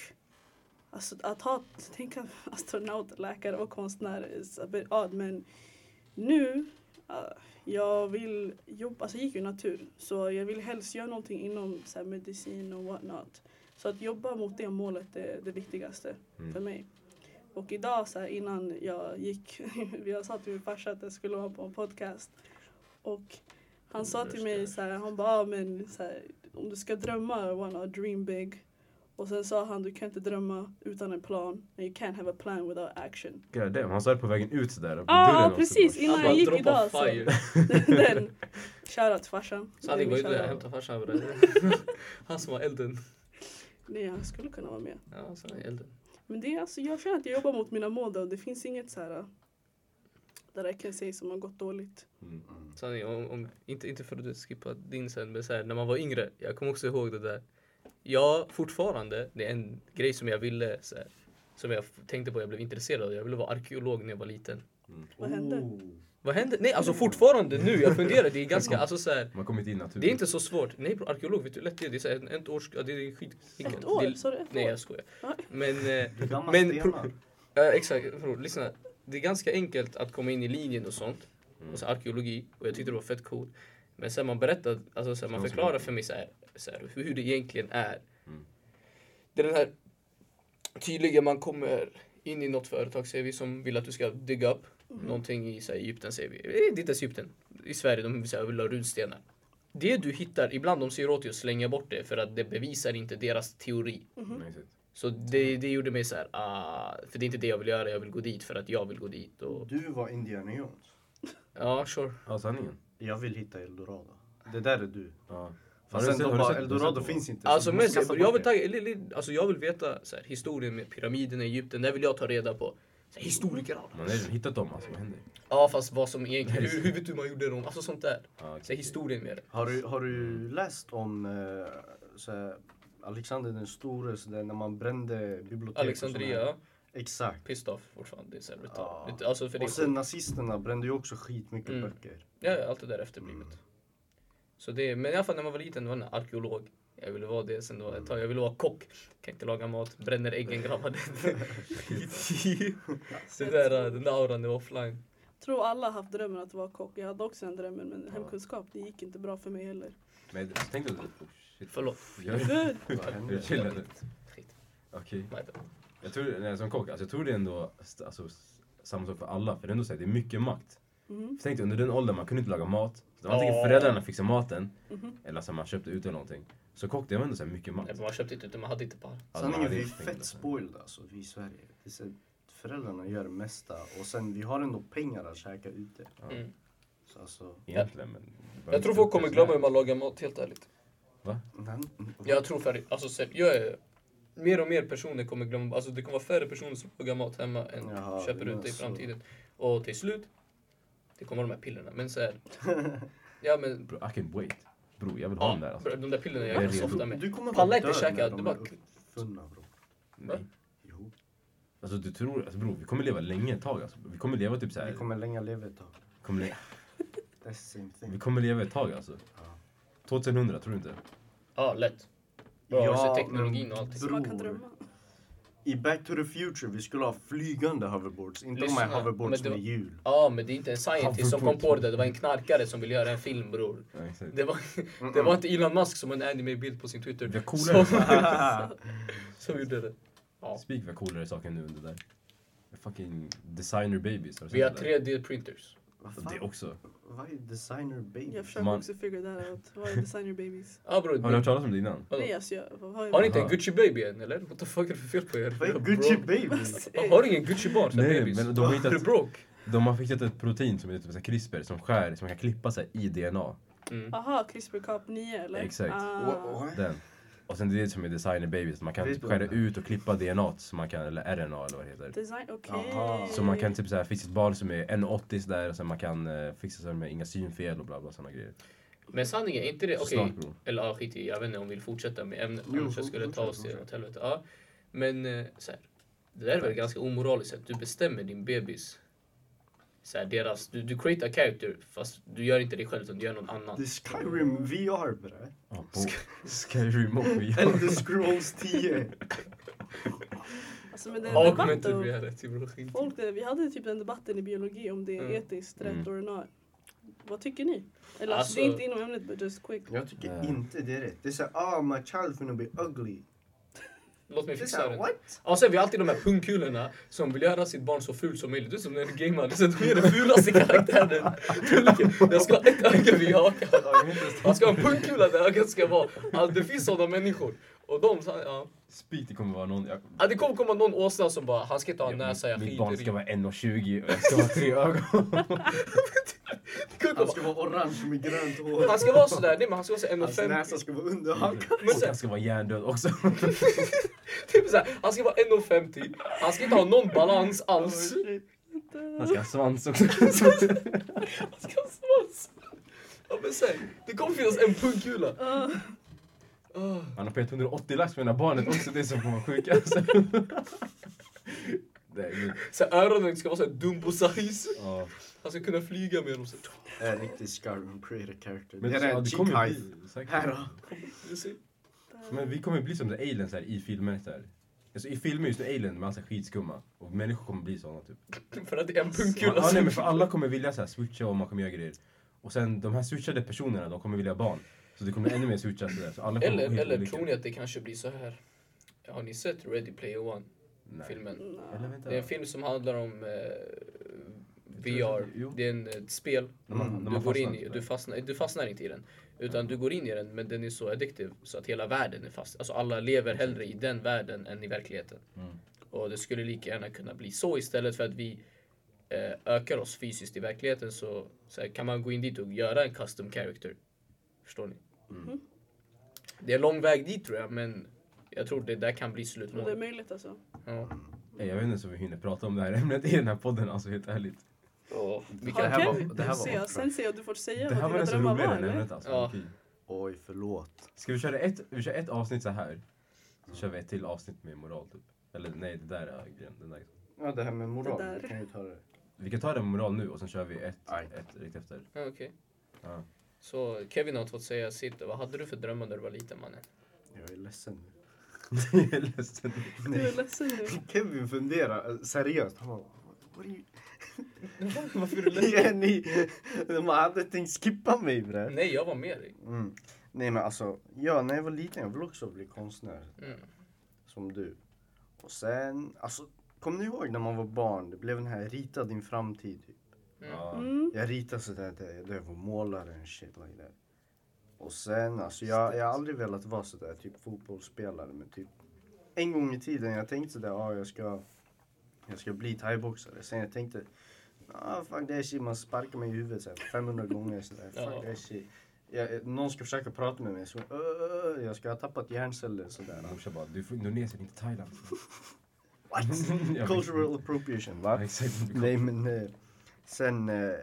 E: alltså, att ha, tänka astronaut, läkare och konstnär is a bit odd. Men nu, eh, jag vill jobba, alltså jag gick ju natur. Så jag vill helst göra någonting inom så här, medicin och whatnot. Så att jobba mot det målet är det viktigaste
C: Mm.
E: för mig. Och idag så här, innan jag gick, jag sa till min farsa att jag skulle vara på en podcast. Och han sa till mig så här, han bara, ah, men så här, om du ska drömma, wanna dream big. Och sen sa han, du kan inte drömma utan en plan. And you can't have a plan without action.
C: God damn, han sa det på vägen ut sådär. På
E: Ja,
C: dörren också.
E: precis. Innan
B: bara
E: jag gick
B: drop of
E: idag så-
B: fire.
E: Den. Shoutout till farsan.
B: Sanning var ju där,
E: Shoutout.
B: hämta farsan över det. Han som var elden.
E: Nej, han skulle kunna vara med.
B: Ja, han som var elden.
E: Men det är alltså, jag känner att jag jobbar mot mina mål då. och det finns inget så här äh, där jag kan säga som har gått dåligt.
C: Mm.
B: Sanning, om, om, inte, inte för att du skippar din sen, men så här, när man var yngre, jag kommer också ihåg det där. Ja, fortfarande, det är en grej som jag ville, så här, som jag f- tänkte på, jag blev intresserad av. Jag ville vara arkeolog när jag var liten.
E: Vad hände?
D: Oh.
B: Vad hände? Nej,
E: Mm.
B: alltså fortfarande nu, jag funderar, det är ganska, alltså så här,
C: Man har kommit in i naturen.
B: det är inte så svårt. Nej bro, arkeolog, vet du hur lätt det är? Det är så här, ett års, ja, det är skitenkelt.
E: Ett år?
B: Det är-
E: Sa du ett
B: Nej,
E: år?
B: jag skojar.
E: Ja.
B: Men... Eh,
D: Du dammar
B: Men
D: stenar.
B: Ja, exakt. Bror, lyssna. Det är ganska enkelt att komma in i linjen och sånt. Och så arkeologi. Och jag tyckte det var fett coolt. Men sen man berättar, alltså sen man förklarar för mig så här, så här, hur hur det egentligen är.
C: Mm.
B: Det är den här tydliga, man kommer in i något företag säger vi som vill att du ska digga upp någonting i så här, Egypten säger vi. Eh, Det är inte ens Egypten. I Sverige de vill, så här, vill ha runstenar. Det du hittar, ibland de säger åt dig att slänga bort det för att det bevisar inte deras teori.
C: Nej, exakt.
B: Så
D: Mm.
B: det, det gjorde mig så här, ah, för det är inte det jag vill göra, jag vill gå dit för att jag vill gå dit. Och,
D: Du var Indiana Jones.
B: ja, sure.
C: Ja, sanningen.
D: Jag vill hitta Eldorado. Det där är du.
C: Ja. Har
D: Fast
C: du
D: sen
C: sett-
D: de
C: har du
D: bara,
C: sett-
D: Eldorado
C: har du sett-
D: finns inte.
B: Alltså,
D: Du måste
B: mest,
D: kasta
B: jag,
D: bort
B: vill
D: det.
B: tagga, eller- eller- alltså jag vill veta så här, historien med pyramiderna i Egypten, det vill jag ta reda på. Så här, historiker alla.
C: Man har redan hittat dem alltså, vad händer?
B: Ja fast vad som egentligen, hur, hur vet du hur man gjorde dem? Alltså sånt där.
C: Ja, exakt.
B: Så här, historien med det.
D: Har du, har du läst om eh, så här, Alexander den store, så där, när man brände bibliotek? och sådär?
B: Alexandria,
D: Exakt.
B: pissed off fortfarande. Det är så här,
D: Ja.
B: brutalt. Alltså för det är
D: Och sen nazisterna brände ju också skitmycket
B: Mm.
D: böcker.
B: Ja, ja, allt det där är efterblivet. Så det, men i alla fall när man var liten var jag en arkeolog. Jag ville vara det sen då ett tag. Jag ville vara kock. Kan inte laga mat, bränner äggen grabbar. det där, äh, den där auran, det var offline.
E: Jag tror alla har haft drömmen att vara kock. Jag hade också den drömmen men hemkunskap det gick inte bra för mig heller.
C: Men jag tänkte... Oh, shit.
B: Förlåt.
C: Jag
E: Good.
D: Vad hände?
C: jag chillade.
B: Skit.
C: Okej.
B: My bad.
C: Jag tror, nej, som kock, alltså jag tror det är ändå st- alltså, s- samma sak för alla. För det är ändå så här, det är mycket makt.
E: Mhm.
C: För tänk dig, under den åldern man kunde inte laga mat. Så antingen
B: Ja.
C: föräldrarna fixade maten,
E: Mhm.
C: eller så här, man köpte ut eller någonting. Så kock, det var ändå så här mycket makt.
B: Nej, men man köpte inte ute, man hade inte par.
C: Alltså, man
D: Sanningen,
C: hade
D: vi är
C: inte pengar,
D: fett
C: så här.
D: spoiled alltså, vi i Sverige. Det är så, här, föräldrarna gör det mesta och sen vi har ändå pengar att käka ute.
B: Mm.
D: Så alltså,
C: Egentligen, men...
A: Jag tror folk kommer glömma hur man lagar mat, helt ärligt.
D: nej,
B: Jag tror för, alltså, se- jag är, mer och mer personer kommer glömma, alltså det kommer vara färre personer som lagar mat hemma än
D: Jaha,
B: köper
D: du
B: ute i
D: menar så.
B: framtiden. Och till slut, det kommer de här pillerna. Men så här, ja men,
C: Bro, I can wait. Bro, jag vill ha
B: ja,
C: den där alltså.
B: de där pillerna
C: Jag
B: jag
C: är
B: är så
C: redo.
B: ofta med.
D: du kommer
B: Pallar
D: vara
B: inte
D: död
B: käka,
D: när
B: du
D: de
B: bara-
D: är uppfunna bro.
B: Va?
C: Nej.
D: Jo,
C: Alltså du tror, alltså bror vi kommer leva länge ett tag alltså. Vi kommer leva typ såhär,
D: vi
C: vi kommer,
D: kommer länge leva ett tag.
C: le-
D: That's the same
C: vi
D: thing.
C: kommer leva ett tag alltså. 2100 tror du inte?
B: Ja, lätt.
D: Ja,
B: Ja, så
D: men-
B: teknologin och
C: Alltså-
B: allting.
E: Så man kan
D: Bror.
E: drömma.
D: I Back to the Future, vi skulle ha flygande hoverboards, inte de här
B: Lyssna,
D: hoverboards
B: men det
D: med
B: var-
D: hjul.
B: Ja, men det är inte en scientist som kom på det. Det var en knarkare som ville göra en film, bror.
C: Ja, exakt.
B: Det var, det var inte Elon Musk som en anime-bild på sin Twitter.
C: Mm. Det är coolare.
B: Som,
D: Ah,
B: som gjorde det. Ja.
C: Speak vad coolare saker nu än det där. Fucking designer babies. Har du
B: Vi har
C: sett det där?
B: 3D-printers.
D: Vad
C: Det
D: fan?
C: också.
D: Vad är designer baby?
E: Jag försöker
C: Man-
E: också figure that out. Vad är designer babies?
B: Ja, bror.
C: Har du hört talas om det innan?
B: Vadå?
E: Nej alltså jag... Vad har
B: Har ni
E: jag?
B: inte en
C: Aha.
B: Gucci baby än eller? What the fuck är det för fel på er?
D: Vad är
B: Bro.
D: Gucci baby?
B: Har- Har du ingen Gucci bar? Nej,
C: Nej
B: babies?
C: men de har
B: Är du
C: hittat,
B: broke?
C: de har fixat ett protein som heter typ CRISPR som skär, som man kan klippa sig i DNA.
B: Mm.
E: Aha, CRISPR Cop 9 eller?
C: Exakt.
E: Ah.
D: What?
C: Den. Och sen det är det som är designer babies, man kan
D: Vet
C: typ
D: du?
C: skära ut och klippa DNA så man kan, eller RNA eller vad det heter.
E: Design, okej.
D: Aha.
C: Så man kan typ så här fixa ett barn som är 1,80 sådär och sen man kan eh, fixa sig med inga synfel och bla bla sådana grejer.
B: Men sanningen, är inte det...
C: Så
B: Okej,
C: snart, bror.
B: eller ja, skit i, jag vet inte om vi vill fortsätta med ämnet.
D: Jo,
B: Annars jag skulle ta
D: fortsätt,
B: oss till
D: fortsätt.
B: åt helvete. Ja. Men eh, så här, det där är väl ganska omoraliskt att du bestämmer din bebis. Så här, deras, du, du create a character fast du gör inte dig själv utan du gör någon annan.
D: Det är Skyrim VR bre.
C: Ja, på Skyrim och vi
D: Elder Scrolls 10.
E: Alltså men det är en debatt
B: Augmented
E: om...
B: reality bror. skit.
E: Folk, där- vi hade typ den debatten i biologi om det är
B: Mm.
E: etiskt rätt
C: Mm.
E: or not. Vad tycker ni? Eller alltså, det är inte
B: Alltså-
E: inom ämnet but just quick.
D: Jag tycker
C: Nej.
D: inte det är rätt. Det är såhär, ah my child finna be ugly.
B: Låt mig
D: Det är
B: fixa
D: såhär,
B: det.
D: what?
B: Ja, sen har vi alltid de här pungkulorna som vill göra sitt barn så fult som möjligt. Det är som när du gamar, så du är den fulaste karaktären. Den ska ha ett öga vid hakan. Han ska ha en pungkula där ögat ska vara. Alltså, det finns sådana människor. Och de, så- ja.
C: Speak det kommer vara någon... Jag,
B: ja det kommer komma någon åsna som bara, han ska inte ha en
C: jag-
B: näsa, jag
C: mitt barn
B: skiter i.
C: ska vara 1,20 och jag ska ha tre ögon.
B: Det kommer
D: Han
B: komma-
D: ska vara orange med grönt hår.
B: Han ska vara sådär, nej men han ska vara så
D: Hans
B: 1,50.
D: näsa ska vara under hakan.
B: Men Mm.
C: och
B: så-
C: jag ska vara hjärndöd också.
B: Typ såhär, han ska vara 1,50. Han ska inte ha någon balans alls.
C: Han ska ha svans också.
B: Han ska ha svans. Ja men sen, det kommer finnas en pungkula.
E: Ah,
B: Ah.
C: Han har pett 180 lax med det här barnet också, det är som kommer vara sjuka. Alltså. Nej, gud.
B: Så här, öronen ska vara såhär Dumbo-size.
C: Ja.
B: Han ska kunna flyga med dem. Så.
D: En riktig Skyrim creator character.
C: Men
D: det är
C: ja,
D: en
C: det
D: cheek
C: kommer ju
D: height.
C: bli... säkert.
D: Här då.
B: Du ser.
C: Men vi kommer bli som så här aliens här i filmer. Så här. Alltså, I filmer just nu alien med massa skitskumma. Och människor kommer bli såna typ.
B: För att det är en
C: Ja,
B: pungkula.
C: ja, nej,
B: som-
C: men för alla kommer vilja så här, switcha och man kommer göra grejer. Och sen de här switchade personerna, de kommer vilja ha barn. Så det kommer bli ännu mer switchat sådär. Så alla kommer vara
B: Eller,
C: helt
B: eller
C: olika.
B: tror ni att det kanske blir så här? Har ni sett Ready Player One-filmen?
C: Nej. Eller vänta.
B: Det är en film som handlar om eh,
C: jag- jo.
B: VR. Det är en, ett spel.
C: När man- när man
B: Du, går in
C: fastnar,
B: i,
C: typ.
B: du, fastnar, du fastnar inte i den. Utan du går in i den, men den är så addictive så att hela världen är fast. Alltså alla lever hellre i den världen än i verkligheten.
C: Mm.
B: Och det skulle lika gärna kunna bli så istället för att vi eh, ökar oss fysiskt i verkligheten så, så här, kan man gå in dit och göra en custom character. Förstår ni?
C: Mm.
B: Det är lång väg dit tror jag, men jag tror det där kan bli
E: tror det är
B: slutmålet.
E: möjligt alltså.
B: Ja.
C: Nej, Jag vet inte ens om vi hinner prata om det här ämnet i den här podden, alltså helt ärligt.
B: Och vi
E: Det
B: kan
D: här
E: här
D: var-
E: var,
D: det här var
E: se,
D: otroligt.
E: sen ser jag, du får säga
C: Det här
E: vad
C: var
E: dina
C: nästan
E: drömmar var
C: roligare än
E: eller?
C: ämnet alltså.
B: Ja.
C: Okej.
D: Oj, förlåt.
C: Ska vi köra ett, vi kör ett avsnitt så här. Så kör vi ett till avsnitt med moral typ. Eller nej, det där är grejen. Den där.
D: Ja, det här med moral.
E: Det där.
D: Vi kan ju ta det.
C: Vi kan ta det med moral nu och sen kör vi ett,
D: Aj.
C: ett direkt efter.
B: Ja, okej.
C: Ja.
B: Så Kevin har fått säga sitt. Vad hade du för drömmar när du var liten mannen?
D: Jag är ledsen nu.
C: Jag är ledsen.
E: Du är ledsen nu.
D: Kevin funderar eh, seriöst. Han bara, "What are you-
B: Varför är du ledsen?
D: Ja, ni- De hade tänkt skippa mig bre.
B: Eh, Nej, jag var med dig.
D: Mm. Nej men alltså, ja, när jag var liten jag ville också bli konstnär.
B: Mm.
D: Som du. Och sen, alltså Kommer ni ihåg när man var barn? Det blev den här rita din framtid. Typ.
C: Ja.
E: Mm.
D: Jag ritade sådär, där jag var målare och shit like that. Och sen, alltså jag, jag har aldrig velat vara sådär typ fotbollsspelare men typ en gång i tiden jag tänkte sådär, ja jag ska, jag ska bli thaiboxare. Sen jag tänkte, ah fuck that shit, man sparkar mig i huvudet såhär 500 gånger sådär,
B: Ja.
D: fuck that shit. Jag, eh, någon ska försöka prata med mig, så, "Ö, ö, ö", jag ska ha tappat hjärnceller sådär.
C: Morsan bara, du är från Indonesien, inte Thailand.
D: What?
C: vet.
D: Cultural appropriation va?
C: Ja, exakt.
D: Nej men eh, sen, eh,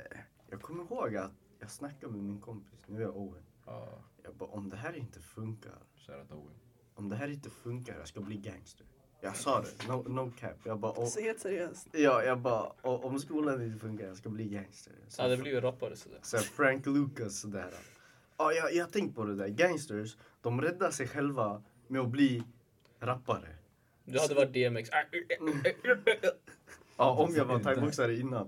D: jag kommer ihåg att jag snackade med min kompis, nu är jag Owen.
C: Ja,
D: Jag bara, om det här inte funkar,
C: kära Owen.
D: om det här inte funkar, jag ska bli gangster. Jag sa det, no, no cap. Jag bara, och,
E: Så helt seriöst.
D: ja, jag bara, och, om skolan inte funkar, jag ska bli gangster.
B: Jag hade blivit rappare sådär.
D: Sen Frank Lucas sådär. Ja, jag, jag har tänkt på det där, gangsters, de räddar sig själva med att bli rappare.
B: Du hade varit DMX. Ah, eh, eh, eh, eh.
D: Ja, om jag var thaiboxare innan.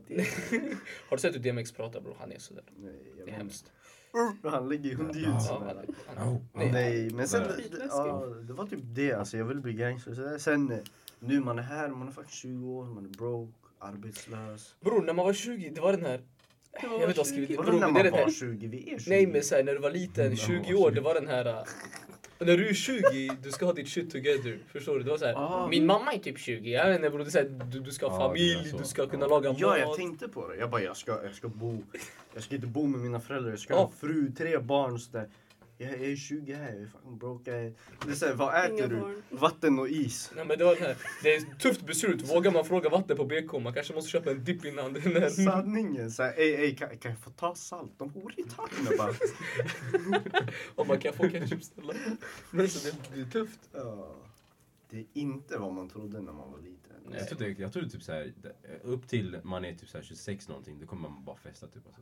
B: Har du sett hur DMX pratar bror? Han är sådär.
D: Nej, jag
B: Det är
D: vet inte.
B: hemskt.
D: Han lägger ju hundljud
B: Ja,
D: sådär.
B: han, han,
C: No.
D: Nej, men sen...
C: Nej.
D: Det, ja, det var typ det. Alltså, jag ville bli gangster. Så där. Sen eh, nu man är här, man är faktiskt 20 år, man är broke, arbetslös.
B: bror när man var 20, det var den här... Jag vet inte vad skrivit det.
D: Vadå
B: Bror,
D: när
B: men det är
D: man
B: den
D: var
B: här
D: 20? Vi är 20.
B: Nej men såhär när du var liten,
C: Mm,
B: 20
C: ja,
B: år, det var den här... äh, När du är 20, du ska ha ditt shit together. Förstår du? Det var såhär, min mamma är typ 20. Jag vet inte bror, det är så här, du, du ska ha
C: Ja, det är
B: familj,
C: så.
B: du ska kunna laga
D: Ja, jag
B: mat.
D: tänkte på det. Jag bara, jag ska, jag ska bo... Jag ska inte bo med mina föräldrar. Jag ska
B: Ja.
D: ha fru, tre barn så där. Jag jag är 20 här, jag är fan broke. Jag är... Det är så här, vad äter
E: Inga
D: du?
E: barn.
D: Vatten och is.
B: Nej, men det, var den här, det är ett tufft beslut. Vågar man fråga vatten på BK? Man kanske måste köpa en dipp innan. Den här.
D: Sanningen. Så här, ey, ey, kan, kan jag få ta salt? De horar i tanden bara.
B: Om man kan få ketchup snälla. Men så det, det är tufft.
D: Ja. Det är inte vad man trodde när man var liten.
B: Nej.
C: Jag tror, det, jag tror det typ såhär, upp till man är typ såhär 26 någonting, då kommer man bara festa typ. Alltså.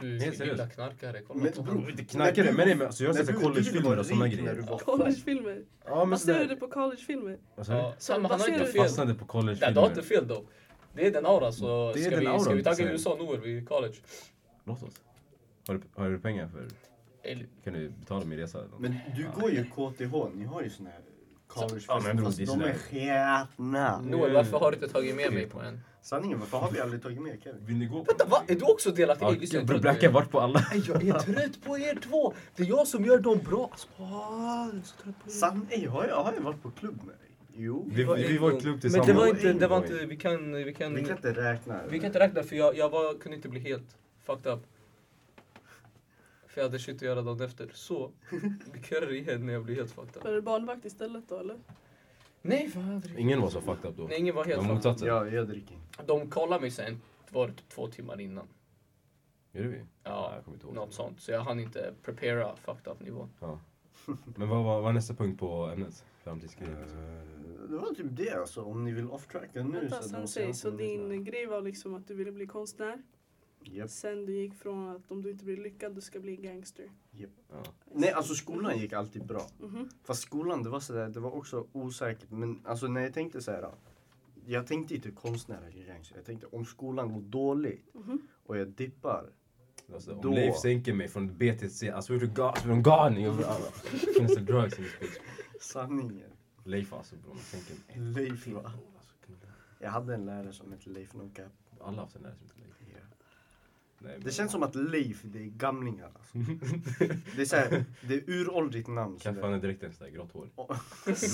B: Du
C: Helt seriöst.
B: gilla knarkare, kolla
D: Men
B: på
D: bror,
B: honom.
D: det
C: Knarkare, men nej men alltså jag har
D: när
C: sett så här
D: du- du var
C: collegefilmer och såna
D: rik när du
C: greger.
D: var fan.
E: Collegefilmer.
C: Ja men
E: Baserar du det
C: sådär.
E: på collegefilmer?
C: Vad sa
B: Ja,
C: du?
B: Sam, han har inte
E: Baserar
B: fel.
E: du-
C: Fastnade på
B: Nej, du har inte
C: collegefilmer.
B: fel då. Det är den auran så
C: Det är
B: ska,
C: den
B: vi, ska
C: auran,
B: vi tagga
C: säger jag.
B: USA Noer vid college.
C: Låt oss. Har du, har du pengar för,
B: Eller-
C: kan du betala min resa? eller något?
D: Men du går ju KTH, ni har ju såna här
C: Ja, men
D: collegefester.
C: bror,
D: Fast
C: det är
D: de är sketna.
B: Noel, varför har du inte tagit med mig på en?
D: Sanningen, varför har vi aldrig tagit med Kevin?
C: Vill ni gå?
B: Vänta, va? Är du också delaktig? Ey, lyssna, jag är
C: Bror
B: trött
C: Black
B: på
C: har
B: er.
C: varit på alla.
B: Ey, Jag är trött på er två! Det är jag som gör dem bra. Alltså, ah, jag är så trött på er.
D: Sann, ej, har jag, har jag varit på klubb med dig? Jo.
C: Vi, vi, vi var i klubb
B: Men det
C: tillsammans.
B: var inte, det var inte, vi kan, vi kan,
D: Vi kan inte räkna.
B: vi kan inte räkna för jag, jag var, kunde inte bli helt fucked up. För jag hade shit att göra dagen efter. Så, vi körde igen när jag blev helt fucked up.
E: Var det barnvakt istället då eller?
B: Nej, fan jag dricker.
C: Ingen var så fucked up då.
B: Nej, ingen var helt
C: Men
B: fucked up.
C: motsatsen.
D: Ja, jag dricker inte.
B: De kollade mig sen, var det typ två timmar innan.
C: Gjorde vi? Nej,
B: Ja,
C: jag kommer inte ihåg.
B: något sånt. Så jag hann inte prepara fucked up nivå.
C: Ja. Men vad var vad är nästa punkt på ämnet? Framtidsgrejer.
D: Eh,
C: liksom.
D: Det var typ det alltså, om ni vill off-tracka nu.
E: Vänta
D: de
E: sensei, så
D: senaste lyssnarna-
E: din grej var liksom att du ville bli konstnär.
D: Japp.
E: Sen du gick från att om du inte blir lyckad du ska bli gangster.
C: Ja.
D: Nej, alltså skolan gick alltid bra.
E: Mhm.
D: Fast skolan, det var sådär, det var också osäkert. Men alltså när jag tänkte så här. Jag tänkte inte konstnärer i Gängsjö. Jag tänkte om skolan går dåligt
E: Mhm.
D: och jag dippar.
C: Alltså,
D: Då-
C: om Leif sänker mig från B till C, alltså, I swear to God, I swear to God, nigga. Finns det drugs in this bitch?
D: Sanningen.
C: Leif alltså bror, man sänker mig.
D: Leif va?
C: Alltså, kan du-
D: Jag hade en lärare som hette Leif Nocap.
C: Alla har haft en lärare som heter Leif. Nej,
D: Det känns som att Leif, det är gamlingar alltså. Det är såhär, det är uråldrigt namn.
C: Kaffe
D: sådär.
C: han är direkt en sån där grått hår.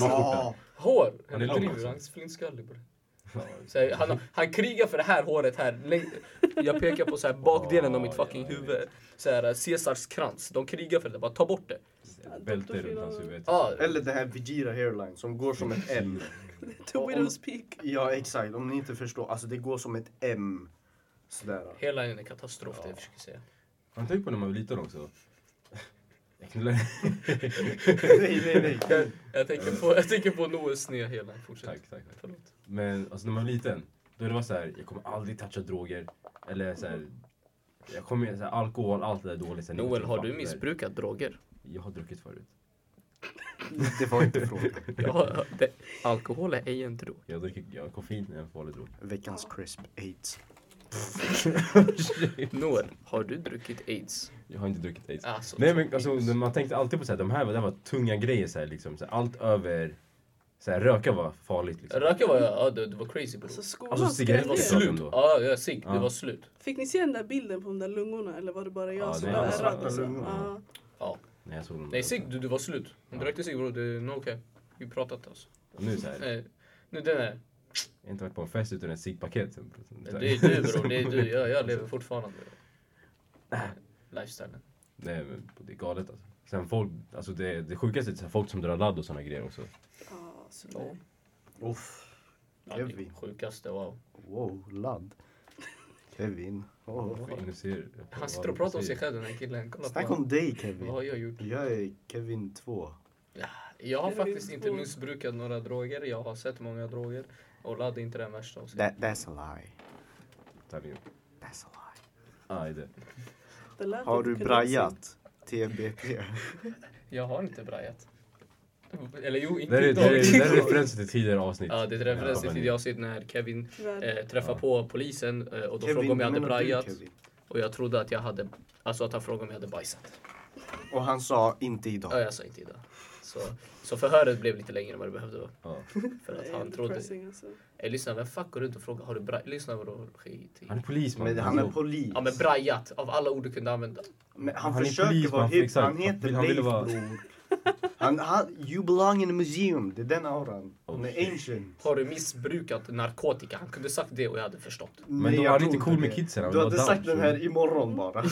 D: Ja,
B: Hår! Han
C: är lång
B: driver,
C: också.
B: han är flintskallig på det.
C: Ja,
B: Så här, han, han krigar för det här håret här. läng- Jag pekar på så här bakdelen av mitt
C: Ja,
B: fucking
C: ja, jag
B: huvud. Så här, eh, Caesars krans. De krigar för det. Bara ta bort det.
C: Bälte runt hans huvud.
B: Ja,
D: eller det här Vegeta hairline som går som ett
C: Mm.
D: M.
E: To widow's peak.
D: Ja exakt, om ni inte förstår. Alltså det går som ett M. Sådär.
B: Hela är en katastrof det jag försöker säga.
C: Han tänkt på när man var liten också. Jag knullade...
D: Nej, nej, nej.
B: Jag tänker på, jag tänker på Noes sneda hela. Fortsätt.
C: tack, tack, tack.
B: Förlåt.
C: Men alltså när man var liten, då det var så här, jag kommer aldrig toucha droger. Eller så här, jag kommer, så här, alkohol, allt det där dåligt. så här,
B: Noel,
C: nikotin,
B: har
C: fan,
B: du
C: det där.
B: missbrukat droger?
C: Jag har druckit förut.
D: Det var inte frågan.
B: Ja, det, alkohol är ej en drog.
C: Jag dricker jag, koffein är en farlig drog.
D: Veckans crisp aids.
B: Noel, har du druckit aids?
C: Jag har inte druckit aids.
B: Alltså,
C: Nej men alltså, man tänkte alltid på så här, de här, det här var tunga grejer så här, liksom. Så här, allt över Så här, röka var farligt liksom.
B: Röka var jag, ja, det, det var crazy bro.
E: Alltså skolan
C: Alltså
B: Det var
C: cigaretter
E: skrällde ju.
C: pratar vi om
B: slut.
C: då.
B: Ja, jag är sick. Det
C: Ja.
B: var slut.
E: Fick ni se den där bilden på de där lungorna eller var det bara jag
C: Ja,
E: som
C: det
E: var
C: var
E: ärrad?
D: svarta
E: Alltså?
D: lungor.
E: Ja.
B: Ja.
C: Nej, jag såg dem.
B: Nej sick, du, du var slut. Om du rökte cigg bror, det är no okay. Vi pratat alltså.
C: Och nu så här,
B: Nej, nu den här.
C: jag har inte varit på en fest utan ett ciggpaket. sen.
B: Det är du bror, det är du. Jag, jag lever fortfarande. Lifestylen.
C: Nej men det är galet alltså. Sen folk, alltså det, det sjukaste är så här, folk som drar ladd och såna grejer också.
E: Ja, så
B: Ja.
D: Uff.
B: Ja,
D: Gör
B: det
D: vi?
B: sjukaste, wow.
D: Wow, ladd. Kevin. Oh.
C: Nu ser,
B: Han sitter och pratar om sig själv den här killen. Kolla på
D: Snacka
B: honom.
D: om dig
B: Vad har
D: Kevin.
B: jag gjort?
D: Jag är Kevin 2.
B: Jag har
E: Det är
B: faktiskt
E: ju
B: inte
E: två.
B: missbrukat några droger. Jag har sett många droger. Och ladd är inte den värsta. av sig.
D: That, that's a lie.
C: själv.
D: That's a lie.
C: Aj, det.
E: det lät
D: Har
E: inte
D: du
E: kul.
D: brajat? TBP.
B: Jag har inte brajat. Eller jo,
C: Det
B: inte
C: är, det, är,
B: idag.
C: det, är, det är referenser till tidigare avsnitt.
B: Ja, det är referens
C: Ja,
B: till tidigare avsnitt när Kevin
E: Tyvärr.
B: eh, träffar
C: Ja.
B: på polisen eh, och de frågar om jag hade brajat. Och jag trodde att jag hade, alltså att han frågade om jag hade bajsat.
D: Och han sa inte
B: Ja,
D: idag.
B: jag sa inte idag. Så, så förhöret blev lite längre än vad det behövde vara.
C: Ja.
B: För
E: Det
B: att
E: är
B: han trodde...
E: depressing, alltså.
B: Ey lyssna, vem fuck går runt och frågar har du brajat? Lyssna bror, skit i.
C: Han är polisman.
D: Men han är polis.
B: Ja men brajat, av alla ord du kunde använda.
D: Men han,
C: Han är
D: försöker
C: polis,
D: vara
C: man.
D: hip.
C: Exakt.
D: Han heter
C: Han
D: han
C: ville
D: Leif
C: vara-
D: bror. Han, han, you belong in a museum. Det är den auran. Han
C: Oh,
D: är ancient.
B: Har du missbrukat narkotika? Han kunde sagt det och jag hade förstått.
C: Men då
D: jag
C: var han
D: tror
C: inte cool med kidsen, han
D: Du
C: var
D: hade
C: down,
D: sagt den
C: så-
D: här imorgon bara.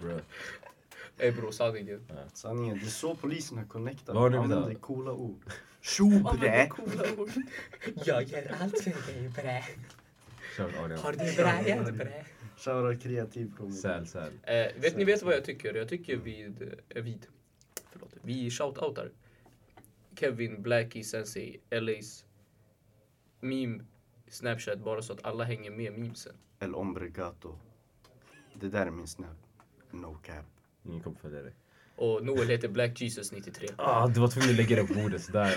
C: Bro.
B: Ey bror, sanningen.
D: Sanningen, det är så poliserna connectar.
C: Vad har ni med
D: Använder
C: det?
D: coola ord.
E: Använder
D: Tjobre!
E: coola ord.
B: Jag gör allt för dig bre.
C: Kör Adrian.
B: du brajat bre?
D: Shoutout kreativ komedi.
C: Säl, säl.
B: Eh, vet ni vet vad jag tycker? Jag tycker vid, eh, vid förlåt, vi shoutoutar Kevin, Blackie, Sensei, LA's meme, Snapchat bara så att alla hänger med memesen.
D: El Ombregato. Det där är min snap. No cap.
C: Ingen kommer följa dig.
B: Och Noel heter Black Jesus 93.
C: Ah, du var tvungen att lägga det på bordet sådär.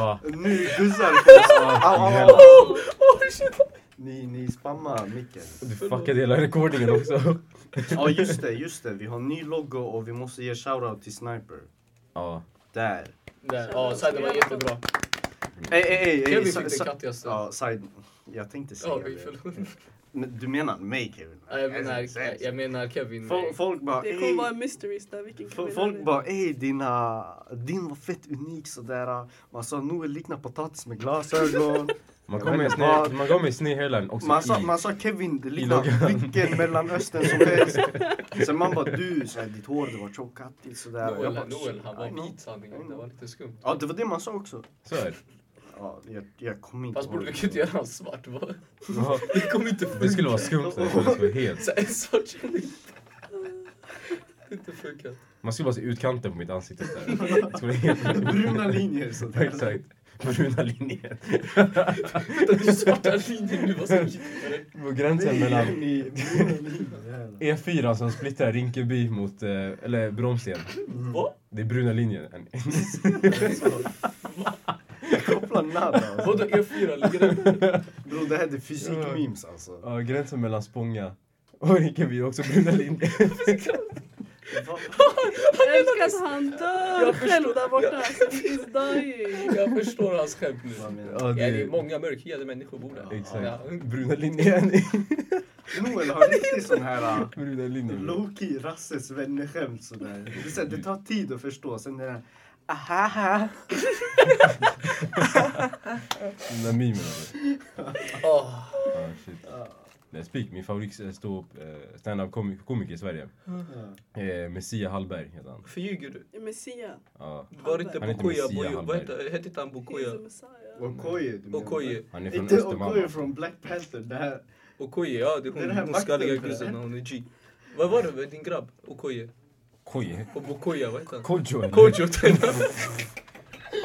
C: Va?
D: Nu gussar au, au, au, au. Ni, ni spammar micken.
C: Du fuckade hela rekordningen också.
D: Ja just det, just det. Vi har ny logo och vi måste ge shoutout till Sniper.
C: Ja.
D: Där.
B: Där, Ja, Saida var jättebra.
D: Ey, ey, ey, ey.
B: Kevin
D: sa-
B: fick det
D: sa-
B: kattigaste.
D: Ja, side. Jag tänkte säga
B: Ja, vi
D: det.
B: förlåt.
D: Men Du menar mig Kevin? Alltså,
B: Ja, Jag menar, jag menar Kevin.
D: Fol- Folk bara,
E: Det kommer
D: ey.
E: vara en mysteries där. Vilken
D: Fol-
E: kvinna det
D: Folk
E: är.
D: bara ey dina, din var fett unik sådär. Man sa Noel liknar potatis med glasögon.
C: Man
D: Jag
C: gav
D: vet
C: mig en
D: inte
C: sned-
D: vad-
C: man gav mig en sned hairline också
D: Man sa,
C: i.
D: man sa Kevin det
C: loggan.
D: liknar vilken mellanöstern som helst. Sen man bara du, såhär, ditt hår det var tjockhattigt sådär. Och jag bara,
B: Noel, Noel, han
D: I know.
B: var vit sanningen. Det var lite skumt.
D: Ja det var det man sa också.
C: Så är det.
D: Ja, jag, jag kommer inte
B: Fast bror,
D: ihåg.
B: du kan inte göra han svart va?
C: Ja.
B: Det kommer inte funka.
C: Det skulle vara skumt. Det skulle vara helt
B: Så en svart kille. inte funkat.
C: Man skulle bara se utkanten på mitt ansikte så här. Det skulle vara helt...
D: Bruna linjer
C: Ja,
D: sådär.
C: Exakt. Bruna linjer.
B: Vänta, det är svarta linjer nu. Vad ska vi
C: Det var gränsen mellan
D: Nej, bruna linjer.
C: E4 som splittrar Rinkeby mot, eh, eller Bromsten.
B: Va?
C: Det är bruna linjen. hörni.
D: Jag kopplar nada. Alltså.
B: Vadå E4? Ligger den där?
D: Bro det här är fysik-memes alltså.
C: Ja, gränsen mellan Spånga och Rinkeby är också bruna linjer.
E: Jag älskar att han dör själv där borta. Alltså, he's dying.
B: Jag förstår hans skämt nu.
D: Vad menar
C: Ja,
B: Ja, det
C: det
B: är många mörkhyade människor bor där.
C: Exakt.
B: Ja.
C: Bruna linjer. hörni.
D: du? Noel har riktigt sån här uh,
C: Bruna linjer.
D: low-key rasses vänner-skämt sådär. Det, är så här, det tar tid att förstå. Sen är det här, ahaha.
C: Den där memen. hörni.
B: Ah,
C: Ja, shit. Nej, Spik, min favorit eh, stå- eh, stand-up komik- komiker i Sverige. Eh, Messia Hallberg heter han.
B: Förljuger du?
E: Messiah.
C: Ja.
B: Du Var inte
E: Han
C: är inte
B: Bokoya
C: Messia,
B: Boyo?
C: han
B: Vad
C: är-
B: hette- Hette inte han
E: He's the
B: Bokoya?
E: Messiah.
D: Okoye du menar?
B: Okoye.
C: Han är från
D: Inte Okoye
C: Östermalm.
D: från Black Panther. Det här,
B: Okoye, ja det är
D: Det är
B: hon,
D: den här
B: hon skalliga
D: vakten,
B: grusen
D: eller?
B: när hon är G. Vad var det med din grabb? Okoye?
C: Koji.
B: Och Bokoya, vad heter han?
C: Kojo. eller?
B: Kojo tränare.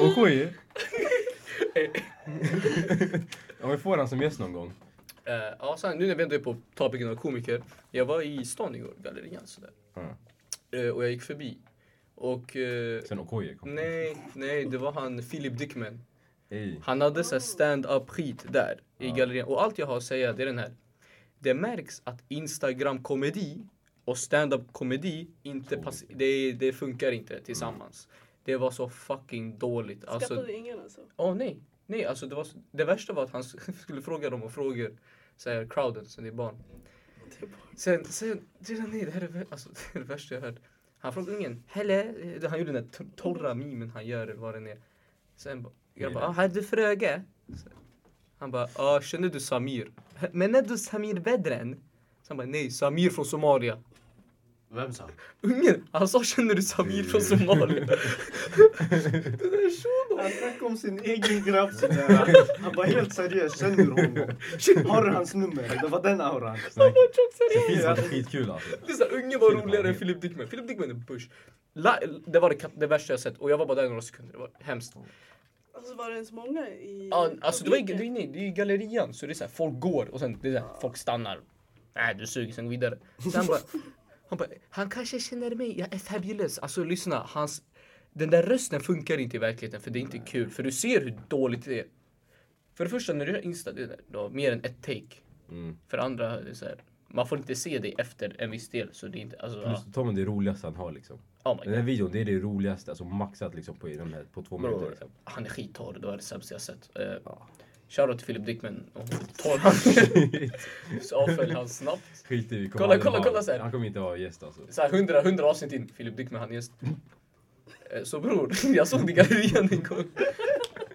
C: Och Koji. Om vi får han som gäst någon gång.
B: Eh, Ja, sen, nu när vi ändå är på topiken av komiker. Jag var i stan igår, gallerian sådär.
C: Mm.
B: Eh, Och jag gick förbi. Och... eh,
C: Sen Okoye kom.
B: Nej, nej, det var han Philip Dickman.
C: Ej.
B: Han hade så här stand-up skit där i
C: Ja.
B: gallerian. Och allt jag har att säga det är den här. Det märks att Instagram-komedi och stand-up komedi inte pass- det, det funkar inte tillsammans. Det var så fucking dåligt. Alltså,
E: Skattade ingen alltså.
B: Åh nej, nej alltså det, var, så- det värsta var att han skulle fråga dem och frågor, såhär crowden som det är barn.
E: Det är bara-
B: Sen, sen, sen nej det här är vä- alltså, det, är det värsta jag hört. Han frågade ungen, helle, eh, han gjorde den där tor- torra mimen han gör eller vad den är. Sen ba- jag bara, ah, hade du fröge? Sen- Han bara, ah, känner du Samir? Men är du Samir Bedren? Sen bara, nej, Samir från Somalia.
D: Vem sa?
B: Ungen, han sa känner du Samir från Somalia?
D: Han snackade om sin egen grabb sådär. Han var helt seriös, känner du honom? Har du hans nummer? Det var den auran.
C: Snack.
B: Tjock seriös.
C: Sofie var skitkul alltså.
B: Det är så här, ungen var roligare än Philip Dickman. Philip Dickman är bush. La, det var det, kat- det värsta jag sett och jag var bara där i några sekunder. Det var hemskt.
E: Alltså var det ens många i
B: Ja, alltså det, var, ju- det, är,
E: publiken?
B: ju- det är ju gallerian så det är så här, folk går och sen det är så här, folk stannar. Nej du suger, sen går vidare. Sen han bara, han bara, han kanske känner mig, jag är fabulous. Alltså lyssna, hans, den där rösten funkar inte i verkligheten för det är inte kul. För du ser hur dåligt det är. För det första när du gör Insta, det är då, mer än ett take.
C: Mm.
B: För det andra, det är så här, man får inte se det efter en viss del. Så det är inte, alltså, ja.
C: Plus Tom är det roligaste han har liksom.
B: oh my
C: Den här videon, det är det roligaste, alltså maxat liksom på, i de här, på två
B: Bro,
C: minuter. Liksom.
B: han är skittorr, det var det sämsta jag sett. Eh,
C: Ja.
B: Shoutout till Philip Dickman. Och torr han Så avfölj han snabbt.
C: Skit i, vi kommer
B: Kolla,
C: aldrig
B: kolla,
C: ha-
B: kolla så här.
C: Han kommer inte vara gäst alltså.
B: Så här, 100, 100 avsnitt in, Philip Dickman han är gäst. Eh, Så bror, jag såg dig i gallerian en gång.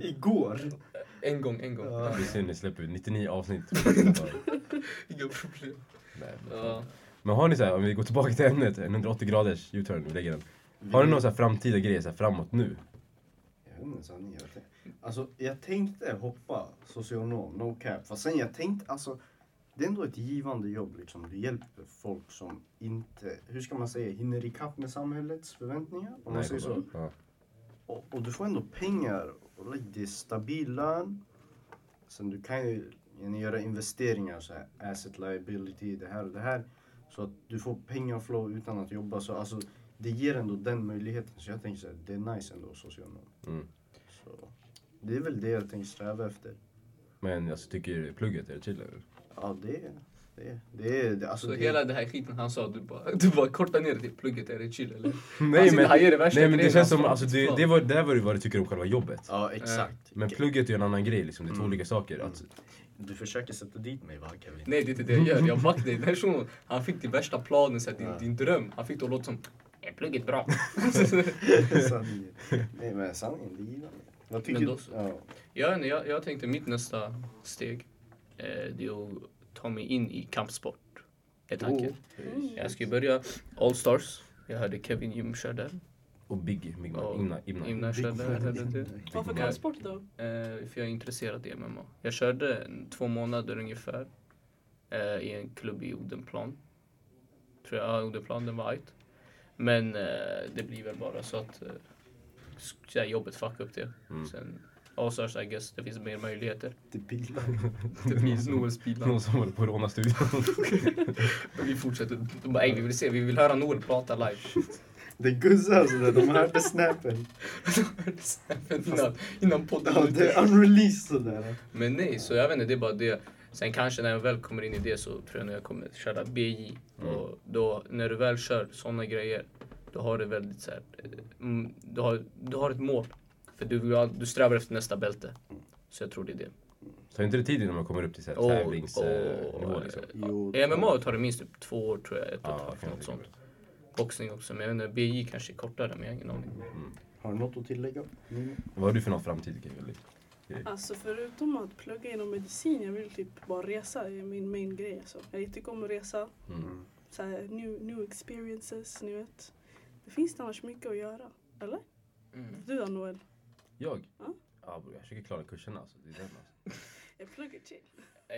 D: Igår.
B: Eh, En gång, en gång.
D: Ja.
C: Det är synd, ni släpper 99 avsnitt.
B: Inga problem.
C: Nej, men-
B: Ja.
C: Men har ni så här, om vi går tillbaka till ämnet, en 180 graders U-turn, vi lägger den. Har ni någon så här framtida grej så här framåt nu?
D: Jag vet inte ens vad ni gör det. Alltså jag tänkte hoppa socionom, no cap. Fast sen jag tänkte, alltså det är ändå ett givande jobb liksom. Du hjälper folk som inte, hur ska man säga, hinner ikapp med samhällets förväntningar. Om man
C: Nej,
D: säger så.
C: kolla. Ja.
D: Och, och du får ändå pengar och like, det är stabil lön. Sen du kan ju gärna göra investeringar så här asset liability, det här och det här. Så att du får pengar flow utan att jobba. Så alltså det ger ändå den möjligheten. Så jag tänker så här, det är nice ändå socionom.
C: Mm.
D: Så det är väl det jag tänker sträva efter.
C: Men alltså, tycker du plugget är chill eller?
D: Ja, det är det. Är, det, är, det alltså,
B: Så
D: det,
B: hela den här skiten han sa, du bara, du bara korta ner det till plugget, är det chill eller?
C: Nej
B: Alltså,
C: men,
B: det här är det värsta
C: nej, men det
B: grejen,
C: känns som,
B: alltså.
C: alltså, det, det, var, det här var ju vad du tycker om själva jobbet.
D: Ja, exakt.
C: Men plugget är ju en annan grej liksom, det
B: Mm.
C: är två olika saker. Att,
D: Du försöker sätta dit mig va, Kevin?
B: Nej det är inte det jag gör, jag backar dig. Den här shunon, han fick din värsta planen, så här, din, din dröm. Han fick det att låta som, är plugget bra?
D: sanningen. Nej, men sanningen, det är givande. Vad tycker
B: Men då
D: du?
B: så.
D: Ja.
B: Jag, vet inte, jag, jag tänkte mitt nästa steg eh, det är att ta mig in i kampsport. Är tanken.
D: Oh.
B: Jag ska ju börja All Stars. Jag hörde Kevin Jim kör där.
C: och Biggie, Big
B: Och
C: Man, Imna, Imna.
B: Imna kör där. jag hörde det.
E: Varför kampsport då?
B: Eh, för jag är intresserad i MMA. Jag körde en, två månader ungefär eh, i en klubb i Odenplan. Tror jag, ja, Odenplan, den var ajt. Men eh, det blir väl bara så att eh, sk- så här, jobbet fuckar upp det.
C: Mm.
B: Sen All Stars, I guess, det finns mer möjligheter.
D: Det pilar.
B: Det finns Noels
C: Någon
B: bilar.
C: som håller på att råna studion.
B: Vi fortsätter. De bara, "Ey, vi vill se, vi vill höra Noel prata live.
D: Det är gussar sådär, de hörde snappen.
B: innan, innan podden
D: Ja,
B: var
D: det
B: ute.
D: är unreleased sådär.
B: Men nej, så jag vet inte, det är bara det. Sen kanske när jag väl kommer in i det så tror jag när jag kommer köra BJ. Och då, när du väl kör sådana grejer, då har du väldigt så här, eh, mm, du, har, du har ett mål. För du, vill ha- du strävar efter nästa bälte. Så jag tror det är det.
C: Tar inte det tid innan man kommer upp till så här
B: Och-
C: tävlingsnivå
B: och,
C: liksom?
B: eh,
D: Jo,
B: I MMA tar det minst typ två år tror jag, ett och
C: Ja,
B: ett halvt,
C: kan
B: något
C: jag
B: sånt. Boxning också, men jag vet inte, BJ kanske är kortare, men jag har ingen aning.
D: Har du något att tillägga? Mm.
C: Vad har du för någon framtid Kevin?
E: Alltså förutom att plugga inom medicin, jag vill typ bara resa. Det är min main grej alltså. Jag tycker om att resa.
C: Mm.
E: Så här, new, new experiences, ni vet. Det finns annars mycket att göra. Eller? Du då Noel?
C: Jag?
E: Ja.
C: Ja, bro, jag försöker klara kurserna alltså. Det är den, alltså.
E: Jag pluggar till.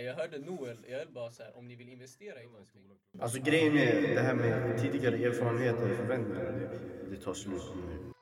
B: Jag hörde Noel, jag höll bara så här, om ni vill investera i någonting.
D: Alltså grejen är det här med tidigare erfarenheter och förväntningar. Det, det tar slut nu.